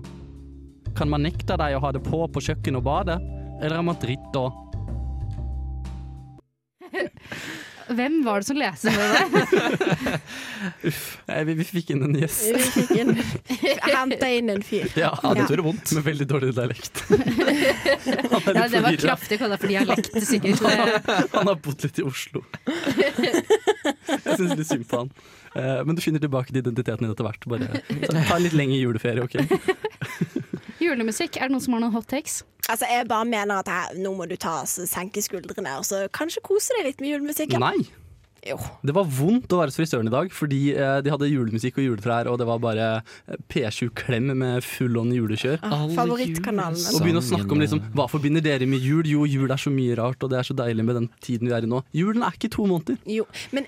D: Kan man nekte deg å ha det på på kjøkkenet og badet, eller er man dritt da?
G: Hvem var det som leste det?
D: Eh, Vi, vi fikk inn en yes.
C: Vi fikk inn- Henta inn en fyr.
D: Ja,
C: det
D: gjorde vondt. Med veldig dårlig dialekt. Han er
G: Ja,
D: litt
G: det var
D: forvirret.
G: kraftig kalla for dialekt, sikkert. Eh,
D: Han har bodd litt i Oslo. Jeg syns litt synd på han. Eh, Men du finner tilbake til identiteten din etter hvert. Bare ta en litt lengre juleferie, OK?
G: Julemusikk, er det noen som har noen hot takes?
C: Altså, jeg bare mener at her, nå må du ta, så senke skuldrene, og så kanskje kose deg litt med julemusikken.
D: Nei.
C: Jo.
D: Det var vondt å være hos frisøren i dag, fordi eh, de hadde julemusikk og juletrær, og det var bare eh, P7 Klem med full on julekjør.
C: Favorittkanalen min.
D: Og begynne å snakke
C: Sånn,
D: om liksom, hva forbinder dere med jul? Jo, jul er så mye rart, og det er så deilig med den tiden vi er i nå. Julen er ikke to måneder.
C: Jo, men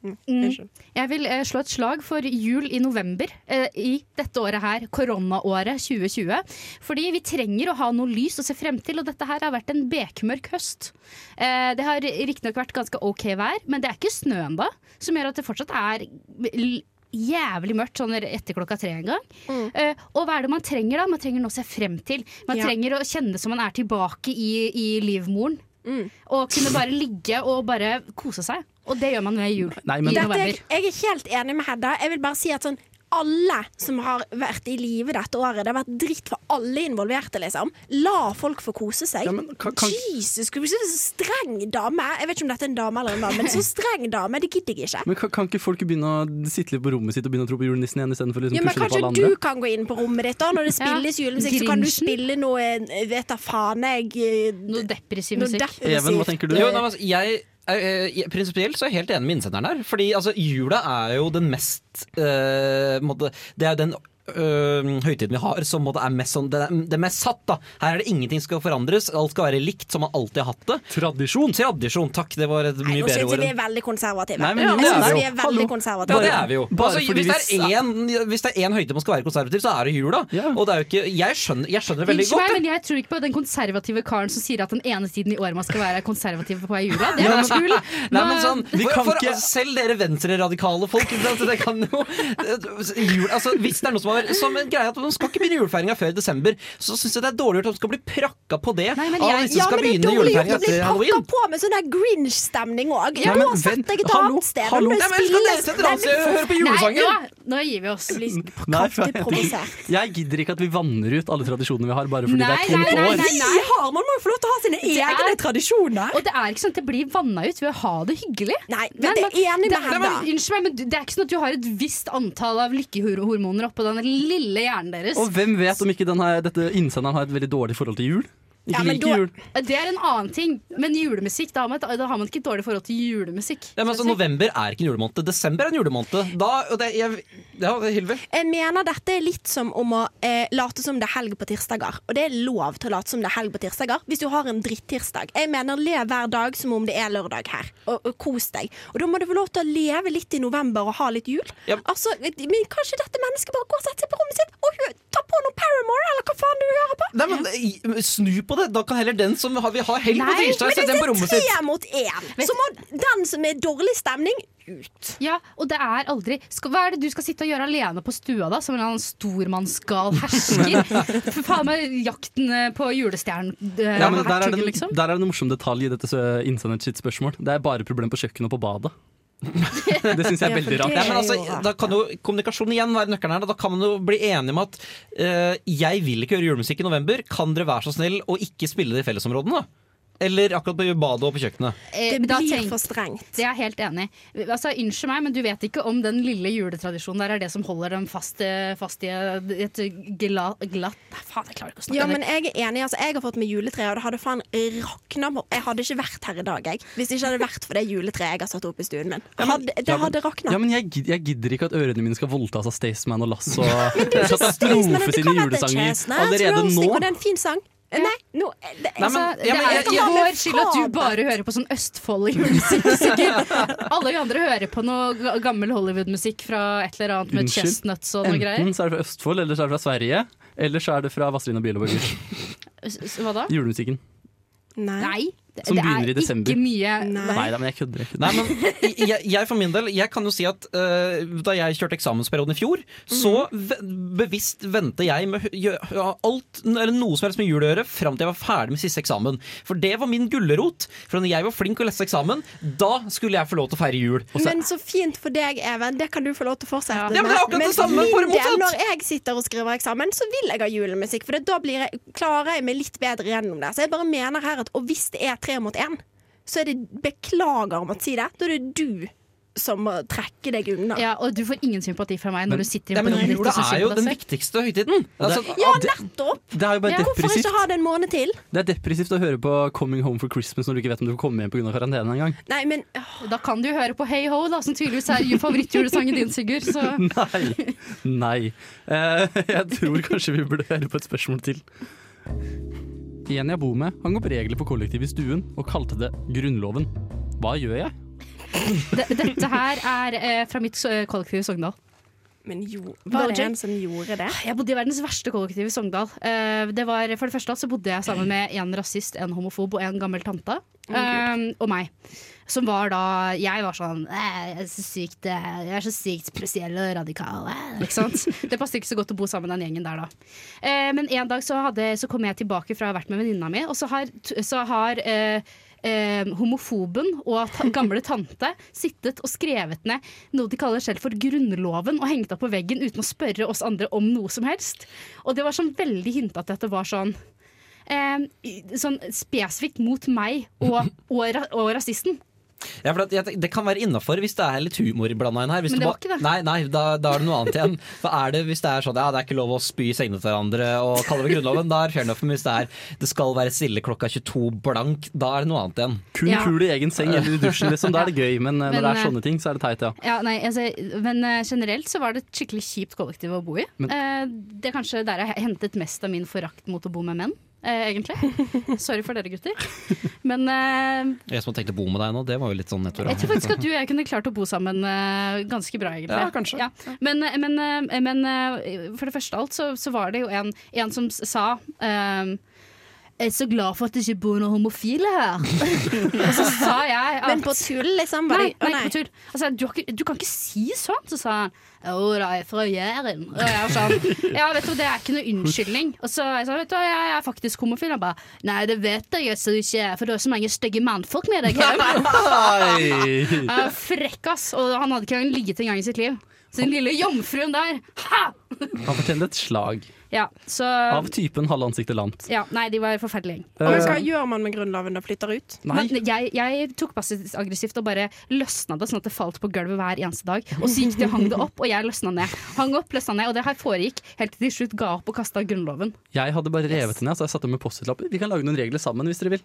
G: Mm.
C: Unnskyld.
G: Jeg vil eh, slå et slag for jul i november eh, i dette året her, koronaåret 2020. Fordi vi trenger å ha noe lys å se frem til, og dette her har vært en bekmørk høst. Eh, det har riktignok vært ganske OK vær, men det er ikke snø ennå, som gjør at det fortsatt er l- jævlig mørkt sånn etter klokka tre en gang. Eh, og hva er det man trenger da? Man trenger noe å se frem til. Man
C: Ja.
G: trenger å kjenne som man er tilbake i, i livmoren. Og kunne bare ligge og bare kose seg. Og det gjør man ved jul.
D: Nei, men-
G: i
C: Dette,
G: november.
C: jeg, jeg er helt enig med Hedda. Jeg vil bare si at sånn alle som har vært i live dette året, det har vært dritt for alle involverte, liksom. La folk få kose seg.
D: Ja, men kan- kan-
C: Jesus, du er så streng dame. Jeg vet ikke om dette er en dame eller en dame, men så streng dame, det gidder jeg ikke.
D: Men kan, kan ikke folk begynne å sitte litt på rommet sitt og begynne å tro på julenissen igjen, istedenfor å
C: Ja,
D: liksom, pushe det
C: men
D: på alle
C: kanskje
D: andre?
C: du kan gå inn på rommet ditt, da. Når det spilles
G: Ja,
C: julemusikk, så kan du
G: Grinchen.
C: spille noe eh, Vet da faen, jeg eh,
G: Noe depressiv
C: noe
G: musikk.
D: Even, hva tenker du?
B: Jo, nei, men altså, jeg er, eh, jeg- Prinsipielt så er jeg helt enig med innsenderen her. Fordi altså, jula er jo den mest eh, måtte, Det er jo den eh, høytiden vi har som måtte, er mest sånn det er, det er mest satt, da. Her er det ingenting som skal forandres. Alt skal være likt som man alltid har hatt det. Tradisjon! Tradisjon, takk. Det var et
C: Nei,
B: mye
C: nå
B: bedre
C: syns jeg
B: ord
C: vi er
B: enn
C: veldig konservative.
D: Nei, men jo,
C: jeg
D: det er
C: synes
D: vi jo.
C: vi er
D: Hallo.
C: veldig konservative.
B: ja, det er vi jo.
D: Bare
B: altså,
D: fordi
B: hvis, det
D: vi
B: er én, hvis det er én høyde man skal være konservativ, så er det jula.
D: Ja.
B: Og det er jo ikke, jeg, skjønner, jeg skjønner det veldig
G: Unnskyld
B: godt.
G: meg,
B: jeg.
G: men jeg tror ikke på den konservative karen som sier at den ene tiden i året man skal være konservativ på er jula. Det er tull.
B: Nei, men sånn,
D: Vi
B: for,
D: kan
B: for
D: ikke-
B: Selv dere venstreradikale folk ikke sant, så det kan jo, jul, altså, Hvis det er noe som har Som en greie at man skal ikke begynne julefeiringa før i desember, så syns jeg det er dårlig gjort at man skal bli prakka på det.
G: Nei, men
B: av
G: jeg-
B: de som
C: Ja,
B: skal
C: men det er
B: begynne
C: dårlig gjort
B: julefeiringa
C: å bli
B: etter
C: pakka
B: halloween.
C: på med sånn der Grinch-stemning òg.
D: Ja,
C: da
D: men
C: setter jeg et
D: vent, hallo,
C: annet sted.
D: hallo.
C: Når det
B: Nei, men Skal dere
C: spilles-
B: sette dere
C: Nei,
B: og høre på julesanger?
G: Nei, nå, nå gir vi oss.
C: men- blir
D: Nei, for
C: kraftig
D: jeg-
C: provosert.
D: Jeg gidder ikke at vi vanner ut alle tradisjonene vi har, bare fordi
G: Nei,
D: det er et tomt
G: nei,
D: år.
G: nei, nei.
C: Vi har, Man må jo få lov til å ha sine
G: er-
C: egne tradisjoner.
G: Og det er ikke sånn at det blir vanna ut ved å ha det hyggelig.
C: Nei, men det er enig med
G: det- nei, men
C: Hedda.
G: Unnskyld meg, men du- det er ikke sånn at du har et visst antall av lykkehormoner oppå den lille hjernen deres.
D: Og hvem vet om ikke denne, dette innsenderen har et veldig dårlig forhold til jul? Ikke
C: Ja, men da-
D: liker jul.
G: Det er en annen ting. Men julemusikk, da har man, et- da har man ikke et dårlig forhold til julemusikk.
B: Ja, men altså, November er ikke en julemåned. Desember er en julemåned. Da, og det, jeg, ja, Hilve.
C: Jeg mener dette er litt som om å eh, late som det er helg på tirsdager. Og det er lov til å late som det er helg på tirsdager hvis du har en drittirsdag. Jeg mener le hver dag som om det er lørdag her, og, og kos deg. Og da må du få lov til å leve litt i november og ha litt jul.
B: Ja.
C: Altså, men kanskje dette mennesket bare går og setter seg på rommet sitt og hø- tar på noe Paramore, eller hva faen du hører på?
B: Nei, men, i- Snu på det! Da kan heller den som har, vil ha helg på
G: Nei,
B: tirsdag, sette den på rommet sitt.
C: Tre mot én! Så må den som er dårlig stemning, ut.
G: Ja, og det er aldri skal, Hva er det du skal sitte og gjøre alene på stua da, som en eller annen stormannsgal hersker? For faen meg jakten eh, på julestjernen. eh,
D: Ja, men der, er
G: hertugen,
D: det,
G: liksom.
D: der er det en morsom detalj i dette sø- innsenderen sitt spørsmål. Det er bare problem på kjøkkenet og på badet. Det syns jeg er veldig rart.
B: Ja, men altså, da kan jo kommunikasjon igjen være nøkkelen her. Da. da kan man jo bli enige om at eh, jeg vil ikke høre julemusikk i november. Kan dere være så snill å ikke spille det i fellesområdene? da? Eller akkurat på badet og på kjøkkenet.
G: Eh,
C: Det
G: men da
C: blir
G: tenk-
C: for strengt.
G: Det er jeg helt enig i. Altså, Unnskyld meg, men du vet ikke om den lille juletradisjonen der er det som holder dem fast, eh, fast i et gla, glatt Nei, faen, jeg klarer ikke å snakke
C: Ja, men
G: mer.
C: jeg er enig. Altså, jeg har fått meg juletre, og det hadde faen rakna på- Jeg hadde ikke vært her i dag, jeg. Hvis det ikke hadde vært for det juletreet jeg har satt opp i stuen min. Hadde, det hadde rakna.
D: Ja, men jeg, gid- jeg gidder ikke at ørene mine skal voldtas av Staysman og Lass og
C: Så stas, men
D: katastrofe sine
C: det kan være
D: julesanger
C: chestnuts,
D: allerede
C: roasting, Og det
D: nå.
C: er en fin sang. Nei, nå det,
B: Nei, men-
G: Altså,
B: ja, men
G: det er
B: jeg-
G: ikke
C: jeg-
G: vår skyld at du
C: Kabel.
G: bare hører på sånn Østfold julemusikk. Alle vi andre hører på noe ga- gammel Hollywood-musikk fra et eller annet med
D: Unnskyld.
G: chestnuts og noe greier.
D: Enten så er det fra Østfold, eller så er det fra Sverige. Eller så er det fra Vazelina Bielobøger.
G: S- s- Hva da?
D: Julemusikken.
C: Nei.
G: Nei. Det,
D: Som
G: det
D: begynner i
G: er
D: desember.
G: ikke mye
C: Nei.
D: Nei da, men jeg kødder. Jeg kødder.
B: Nei, men jeg, jeg for min del, jeg kan jo si at eh, da jeg kjørte eksamensperioden i fjor, så ve- bevisst ventet jeg med hø- gjø- ja, alt, eller noe som helst med jul å gjøre, fram til jeg var ferdig med siste eksamen. For det var min gulrot. For når jeg var flink å lese eksamen, da skulle jeg få lov til å feire jul.
C: Men så fint for deg, Even. Det kan du få lov til å fortsette
G: Ja.
C: med.
B: Ja, men det er akkurat det samme,
C: for
B: bare
C: min del,
B: motsatt.
C: når jeg sitter og skriver eksamen, så vil jeg ha julemusikk. For det, da blir jeg, klarer jeg meg litt bedre gjennom det. Så jeg bare mener her at og hvis det er tre mot én, så er det Beklager om å si det, da er det du som må trekke deg unna.
G: Ja, og du får ingen sympati fra meg når du sitter
B: Ja,
G: på
B: men
G: rommet ditt
B: jula
G: og så
B: er
G: synger
B: jo
G: på
B: den
G: deg selv.
B: viktigste høytiden. Altså,
C: Ja,
D: det,
C: nettopp!
D: det er jo bare
G: Ja.
C: Hvorfor
D: depressivt.
C: ikke ha det en måned til?
D: Det er depressivt å høre på 'Coming Home for Christmas' når du ikke vet om du får komme hjem pga. karantene engang.
C: Nei, men åh,
G: Da kan du jo høre på Hey Ho, da, som tydeligvis er favorittjulesangen din, Sigurd. Så.
D: Nei. Nei. Eh, jeg tror kanskje vi burde høre på et spørsmål til. En jeg bor med, hang opp regler for kollektiv i stuen og kalte det Grunnloven. Hva gjør jeg?
G: De- Dette her er eh, fra mitt eh, kollektiv i Sogndal.
C: men jo, var
G: Bare-
C: det en som gjorde det?
G: Jeg bodde i verdens verste kollektiv i Sogndal. Eh, det var, for det første så bodde jeg sammen med en rasist, en homofob og en gammel tante. eh, og meg. Som var da Jeg var sånn «Eh, Jeg er så sykt, eh, jeg er så sykt spesiell og radikal. eh», Ikke sant? Det passet ikke så godt å bo sammen med den gjengen der da. Eh, men en dag så, hadde, så kom jeg tilbake fra å ha vært med venninna mi, og så har, så har eh, eh, homofoben og ta gamle tante sittet og skrevet ned noe de kaller selv for Grunnloven, og hengt opp på veggen uten å spørre oss andre om noe som helst. Og det var sånn veldig hintet at dette var sånn eh, i- Sånn spesifikt mot meg og, og, ra og rasisten.
B: ja, for at jeg, tenker- det kan være innafor hvis det er litt humor blanda inn her. Hvis
G: Men det var
B: bare-
G: ikke det.
B: Nei, nei da, da er det noe annet igjen. For er det, hvis det er sånn ja, det er ikke lov å spy i sengene til hverandre og kalle det Grunnloven, da er fair enough. Men hvis det er det skal være stille klokka 22 blank, da er det noe annet igjen.
D: Kun
G: Ja.
D: kul i egen seng eller i dusjen, liksom. Da er det gøy. Men, eh,
G: Men,
D: når det er
G: eh,
D: sånne ting, så er det teit, ja.
G: Ja, nei, altså, men eh, generelt så var det et skikkelig kjipt kollektiv å bo i. Eh, det er kanskje der jeg hentet mest av min forakt mot å bo med menn, eh, egentlig. Sorry for dere, gutter. Men eh,
B: Jeg som tenkte bo med deg nå, det var jo litt sånn nettopp.
G: Jeg tror faktisk at du og jeg kunne klart å bo sammen eh, ganske bra, egentlig.
D: Ja, kanskje.
G: Men, eh, men, eh, men eh, for det første alt så, så var det jo en, en som s- sa ehm, jeg er så glad for at det ikke bor noen homofile her. og så sa jeg at
C: Men på tull, liksom? Var
G: Nei,
C: det,
G: nei,
C: å, nei.
G: på tull. Altså, du, har ikke, du kan ikke si sånn. Så sa han jo da, jeg er fra Jæren. Og jeg var sånn Ja, vet du, det er ikke noe unnskyldning. Og så jeg sa vet du, hva, jeg er faktisk homofil. Han bare nei, det vet jeg at du ikke er, for du har så mange stygge mannfolk med deg hjem.
D: Nei!
G: Ja, frekk, ass. Og han hadde ikke engang ligget en gang i sitt liv. Så den lille jomfruen der. Ha!
D: Han fortjener et slag
G: Ja, så
D: av typen halvansiktet Eh, lant.
G: ja, Nei, de var forferdelige.
C: Og hva
B: Eh.
C: gjør man med Grunnloven da? Flytter ut?
D: Nei.
G: Men jeg, jeg tok passivt aggressivt og bare løsna det sånn at det falt på gulvet hver eneste dag. Og så gikk de og hang det opp, og jeg løsna ned. Hang opp, løsna ned, og det her foregikk helt til de slutt ga opp og kasta Grunnloven.
D: Jeg hadde bare revet henne, så jeg satte henne med Post-It-lapper. Vi kan lage noen regler sammen hvis dere vil.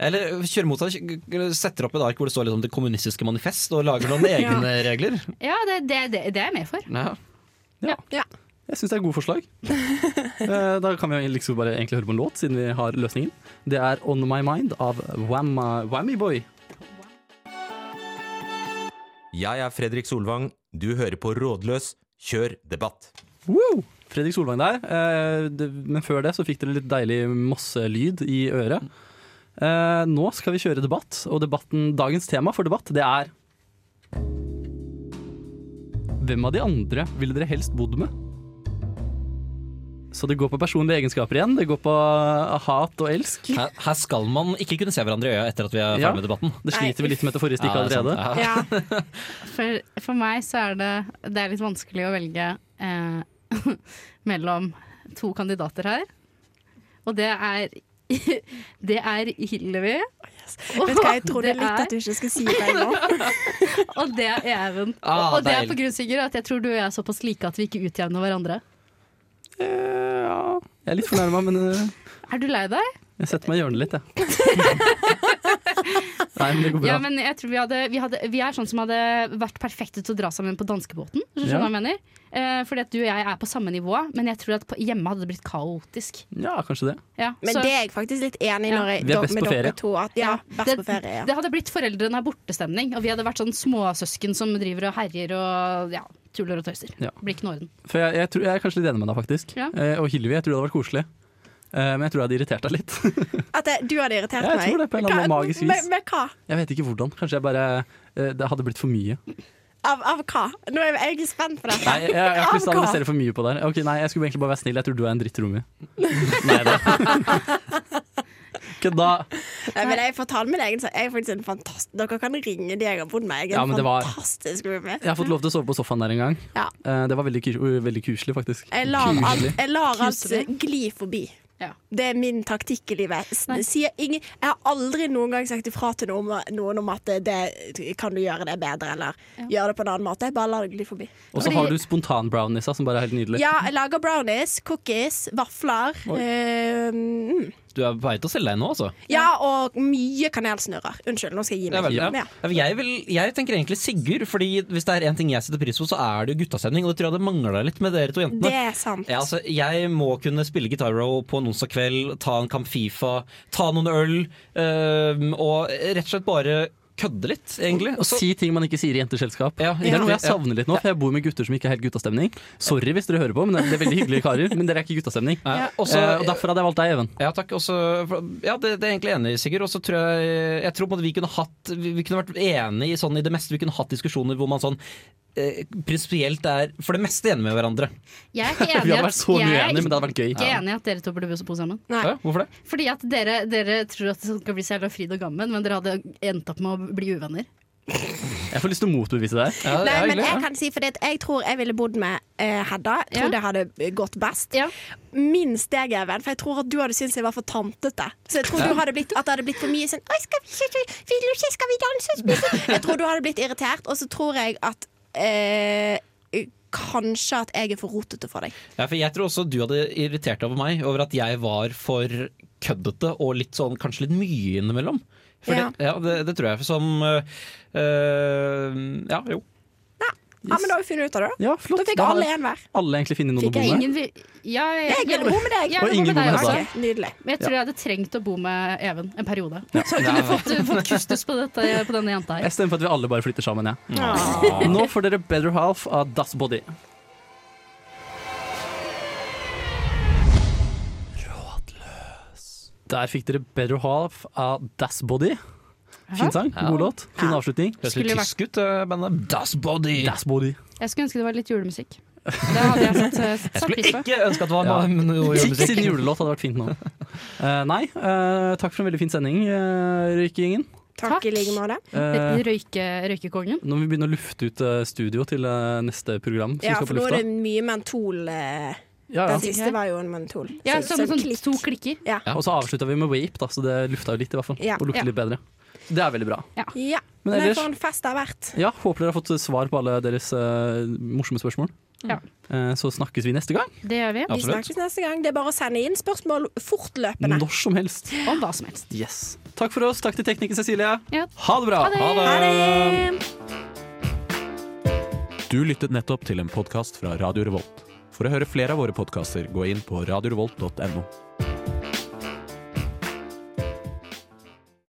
B: Eller kjøre mot seg, setter opp et ark hvor det står litt om det kommunistiske manifest, og lager noen egne regler.
G: Ja, det, det, det, det er jeg med for.
C: Ja.
D: Jeg syns det er gode forslag. Eh, da kan vi jo liksom bare egentlig høre på en låt, siden vi har løsningen. Det er 'On My Mind' av Whamma, Whammy Boy.
A: Jeg er Fredrik Solvang. Du hører på Rådløs. Kjør debatt.
D: Woo! Fredrik Solvang der. Eh, det- Men før det så fikk dere litt deilig mosselyd i øret. Eh, Nå skal vi kjøre debatt, og debatten, dagens tema for debatt det er Hvem av de andre ville dere helst bodd med? Så det går på personlige egenskaper igjen. Det går på hat og elsk.
H: Her, her skal man ikke kunne se hverandre i øya etter at vi er
D: Ja.
H: ferdig med debatten.
D: Det sliter vi litt med etter forrige stikk
H: Ja, det er sant.
D: allerede.
H: Ja.
C: Ja.
G: For, for meg så er det, det er litt vanskelig å velge eh, mellom to kandidater her. Og det er Det er Hillevi,
C: Vet du hva, jeg trodde
G: Det
C: litt
G: er-
C: at du ikke skulle si det nå.
G: og det er Even.
H: Ah,
G: og det er
H: deilig.
G: på grunn Sigurd, at jeg tror du og jeg er såpass like at vi ikke utjevner hverandre.
D: Eh, Ja, jeg er litt fornærma, men eh,
G: Er du lei deg?
D: jeg setter meg i hjørnet litt, jeg. Nei, men det går bra.
G: Ja, men jeg tror vi, hadde, vi, hadde, vi er sånn som hadde vært perfekte til å dra sammen på danskebåten. hvis du Skjønner
D: Ja.
G: hva jeg mener? Eh, fordi at du og jeg er på samme nivå, men jeg tror at på, hjemme hadde det blitt kaotisk.
D: Ja, kanskje det.
G: Ja,
C: Men
G: så-
C: det er jeg faktisk litt enig i når jeg,
D: Vi er best
C: med
D: på ferie.
C: dere to. At, ja, best
G: det,
C: på ferie, ja.
G: det hadde blitt foreldrene er bortestemning, og vi hadde vært sånn småsøsken som driver og herjer og ja, tuller og tøyser.
D: Ja.
G: Blir ikke noe orden.
D: For jeg, jeg, tror, jeg er kanskje litt enig med deg, faktisk.
G: Ja.
D: Eh, og Hillevi, jeg tror det hadde vært koselig. Eh, men jeg tror jeg hadde irritert deg litt.
C: At jeg, du hadde irritert
D: Ja, jeg
C: meg.
D: tror det på en eller annen
C: Hva-
D: magisk vis.
C: Med, med hva?
D: jeg vet ikke hvordan. Kanskje jeg bare eh, Det hadde blitt for mye. Nei,
C: Av, av hva? Nå er jeg, jeg er spent på dette.
D: jeg, jeg har ikke lyst til å
C: Av hva?
D: analysere for mye på det her. Ok, nei, jeg skulle egentlig bare være snill. Jeg tror du er en drittromme.
H: Nei, da.
D: Kødda!
C: Nei, men jeg får tale min egen sak. Jeg er faktisk en fantast... Dere kan ringe de jeg har bodd med. Jeg er
D: Ja,
C: en
D: men det var-
C: fantastisk roomie.
D: Jeg har fått lov til å sove på sofaen der en gang.
C: Ja.
D: Eh, det var veldig, kus veldig kuselig, faktisk.
C: Jeg lar alt,
D: Kuselig.
C: jeg lar alt
G: Kuselig.
C: gli forbi.
G: Ja.
C: Det er min taktikk i livet. S-
G: Nei.
C: Sier ingen, jeg har aldri noen gang sagt ifra til noen, noen om at det, kan du gjøre det bedre, eller gjøre det på en annen måte. Jeg bare lar det gli forbi.
D: Og så
G: Fordi-
D: har du spontan-brownisa, som bare er helt nydelig.
C: Ja, jeg lager brownies, cookies, vafler. eh, mm.
H: Du er på vei til å selge deg nå, altså.
C: ja, og mye kanelsnurrer. Unnskyld, nå skal jeg gi meg.
H: Ja, vel, ja.
C: Ja.
H: Ja, Jeg, vil, jeg tenker egentlig Sigurd, Fordi hvis det er én ting jeg setter pris på, så er det jo guttastemning. Og det tror jeg det mangla litt med dere to jentene.
C: Det er sant.
H: Ja, altså, jeg må kunne spille Guitar Row på en onsdag kveld, ta en Camp Fifa, ta noen øl øhm, og rett og slett bare kødde litt, egentlig.
D: Og si ting man ikke sier i jenteselskap.
H: Ja,
D: Det er noe jeg
H: ja.
D: savner litt nå, for jeg bor med gutter som ikke er helt guttastemning. Sorry hvis dere hører på, men det er veldig hyggelige karer. Men dere er ikke guttastemning.
H: Ja, og så-
D: Eh, og derfor hadde jeg valgt deg, Even.
H: Ja, takk. Også, ja, det, det er jeg egentlig enig i, Sigurd. Og så tror jeg, jeg tror på en måte vi kunne hatt Vi vi kunne vært enige i, sånn, i det meste. Vi kunne hatt diskusjoner hvor man sånn eh, prinsipielt er for det meste enig med hverandre.
G: Jeg er ikke
D: Vi
G: enig i
D: hadde
G: at-
D: vært så mye
G: jeg er
D: uenige, men det hadde vært gøy.
G: ikke enig i at dere to burde bo bo sammen.
C: Nei.
H: Ja, hvorfor det?
G: Fordi at dere, dere tror at det skal bli så jævla fryd og gammen, men dere hadde endt opp med å bli uvenner.
D: Jeg får lyst til å motbevise deg.
H: Ja, det
C: Nei,
H: er
C: men
H: hyggelig,
C: jeg
H: ja.
C: kan si fordi at jeg tror jeg ville bodd med eh, Hedda. Jeg tror
G: Ja.
C: det hadde gått best.
G: Ja.
C: Minst deg, Even, for jeg tror at du hadde syntes jeg var for tantete. Så jeg tror du hadde blitt, at det hadde blitt for mye sånn Oi, skal vi ikke, vil du ikke, skal vi danse og spise? Jeg tror du hadde blitt irritert, og så tror jeg at eh, Kanskje at jeg er for rotete for deg.
H: Ja, for jeg tror også du hadde irritert deg over meg over at jeg var for køddete og litt sånn, kanskje litt mye innimellom. For
C: Ja.
H: Det, ja, det, det tror jeg som øh, øh, Ja, jo.
C: Nei. Ja, men da har vi funnet ut av det, da.
D: Ja, flott.
C: Da fikk
D: Da har
C: alle én hver.
D: Alle egentlig finner noen å
C: Fikk
D: bo
C: jeg
D: med.
G: Ingen vil ja,
C: Jeg ville bo med deg.
G: Jeg
D: Og
G: ville bo
D: ingen
G: med
D: bo
G: deg
D: med
G: også.
D: Hedda.
C: Ok, Nydelig.
G: Men jeg tror jeg hadde trengt å bo med Even en periode. Så jeg kunne fått, fått kustus på, dette, på denne jenta her.
D: Jeg stemmer for at vi alle bare flytter sammen, jeg. Nå får dere Better Half av Das Body. Der fikk dere Better Half av Das Body. Fin sang, god låt, fin avslutning.
H: Plutselig
G: Skulle vært-
H: tysk ut, øh, bandet Das Body.
D: Das Body.
G: Jeg skulle ønske det var litt julemusikk. Det hadde jeg satt, eh, satt
H: Skulle
G: pris på.
H: ikke ønske at det var
D: Ja.
H: noe- noe å gjøre med
D: Sin
H: musikk.
D: julelåt hadde vært fint nå. Eh, nei, eh, takk for en veldig fin sending, uh, Røykegjengen.
C: Takk,
G: Takk.
C: i like måte.
D: Eh,
G: Røyke, røykekongen.
D: nå må vi begynne å lufte ut eh, studio til eh, neste program. Som
C: Ja,
D: skal
C: for
D: på
C: nå er
D: lufta.
C: det mye mentol. eh,
D: Ja, ja.
C: Den siste var jo en mentol.
G: Ja,
C: Så-
G: som
C: så
G: sånn
C: klikk.
G: to klikker.
C: Ja.
D: Og så avslutta vi med Wape, da, så det lufta jo litt, i hvert fall.
C: Ja.
D: Og lukter
G: Ja.
D: litt bedre. Det er veldig bra.
C: ja.
D: Men
C: Nei,
D: ellers-
C: for en fest det har vært.
D: Ja, Håper dere har fått svar på alle deres eh, morsomme spørsmål.
G: Ja.
D: Eh, så snakkes vi neste gang.
G: Det gjør vi.
C: Vi snakkes neste gang. Det er bare å sende inn spørsmål fortløpende.
D: Når som helst.
G: Om hva som helst.
D: Yes. Takk for oss. Takk til tekniker Cecilie.
G: Ja.
D: Ha det bra.
G: Ha det. Ha det.
C: Ha det!
A: Du lyttet nettopp til en podkast fra Radio Revolt. For å høre flere av våre podkaster, gå inn på radiorevolt.no.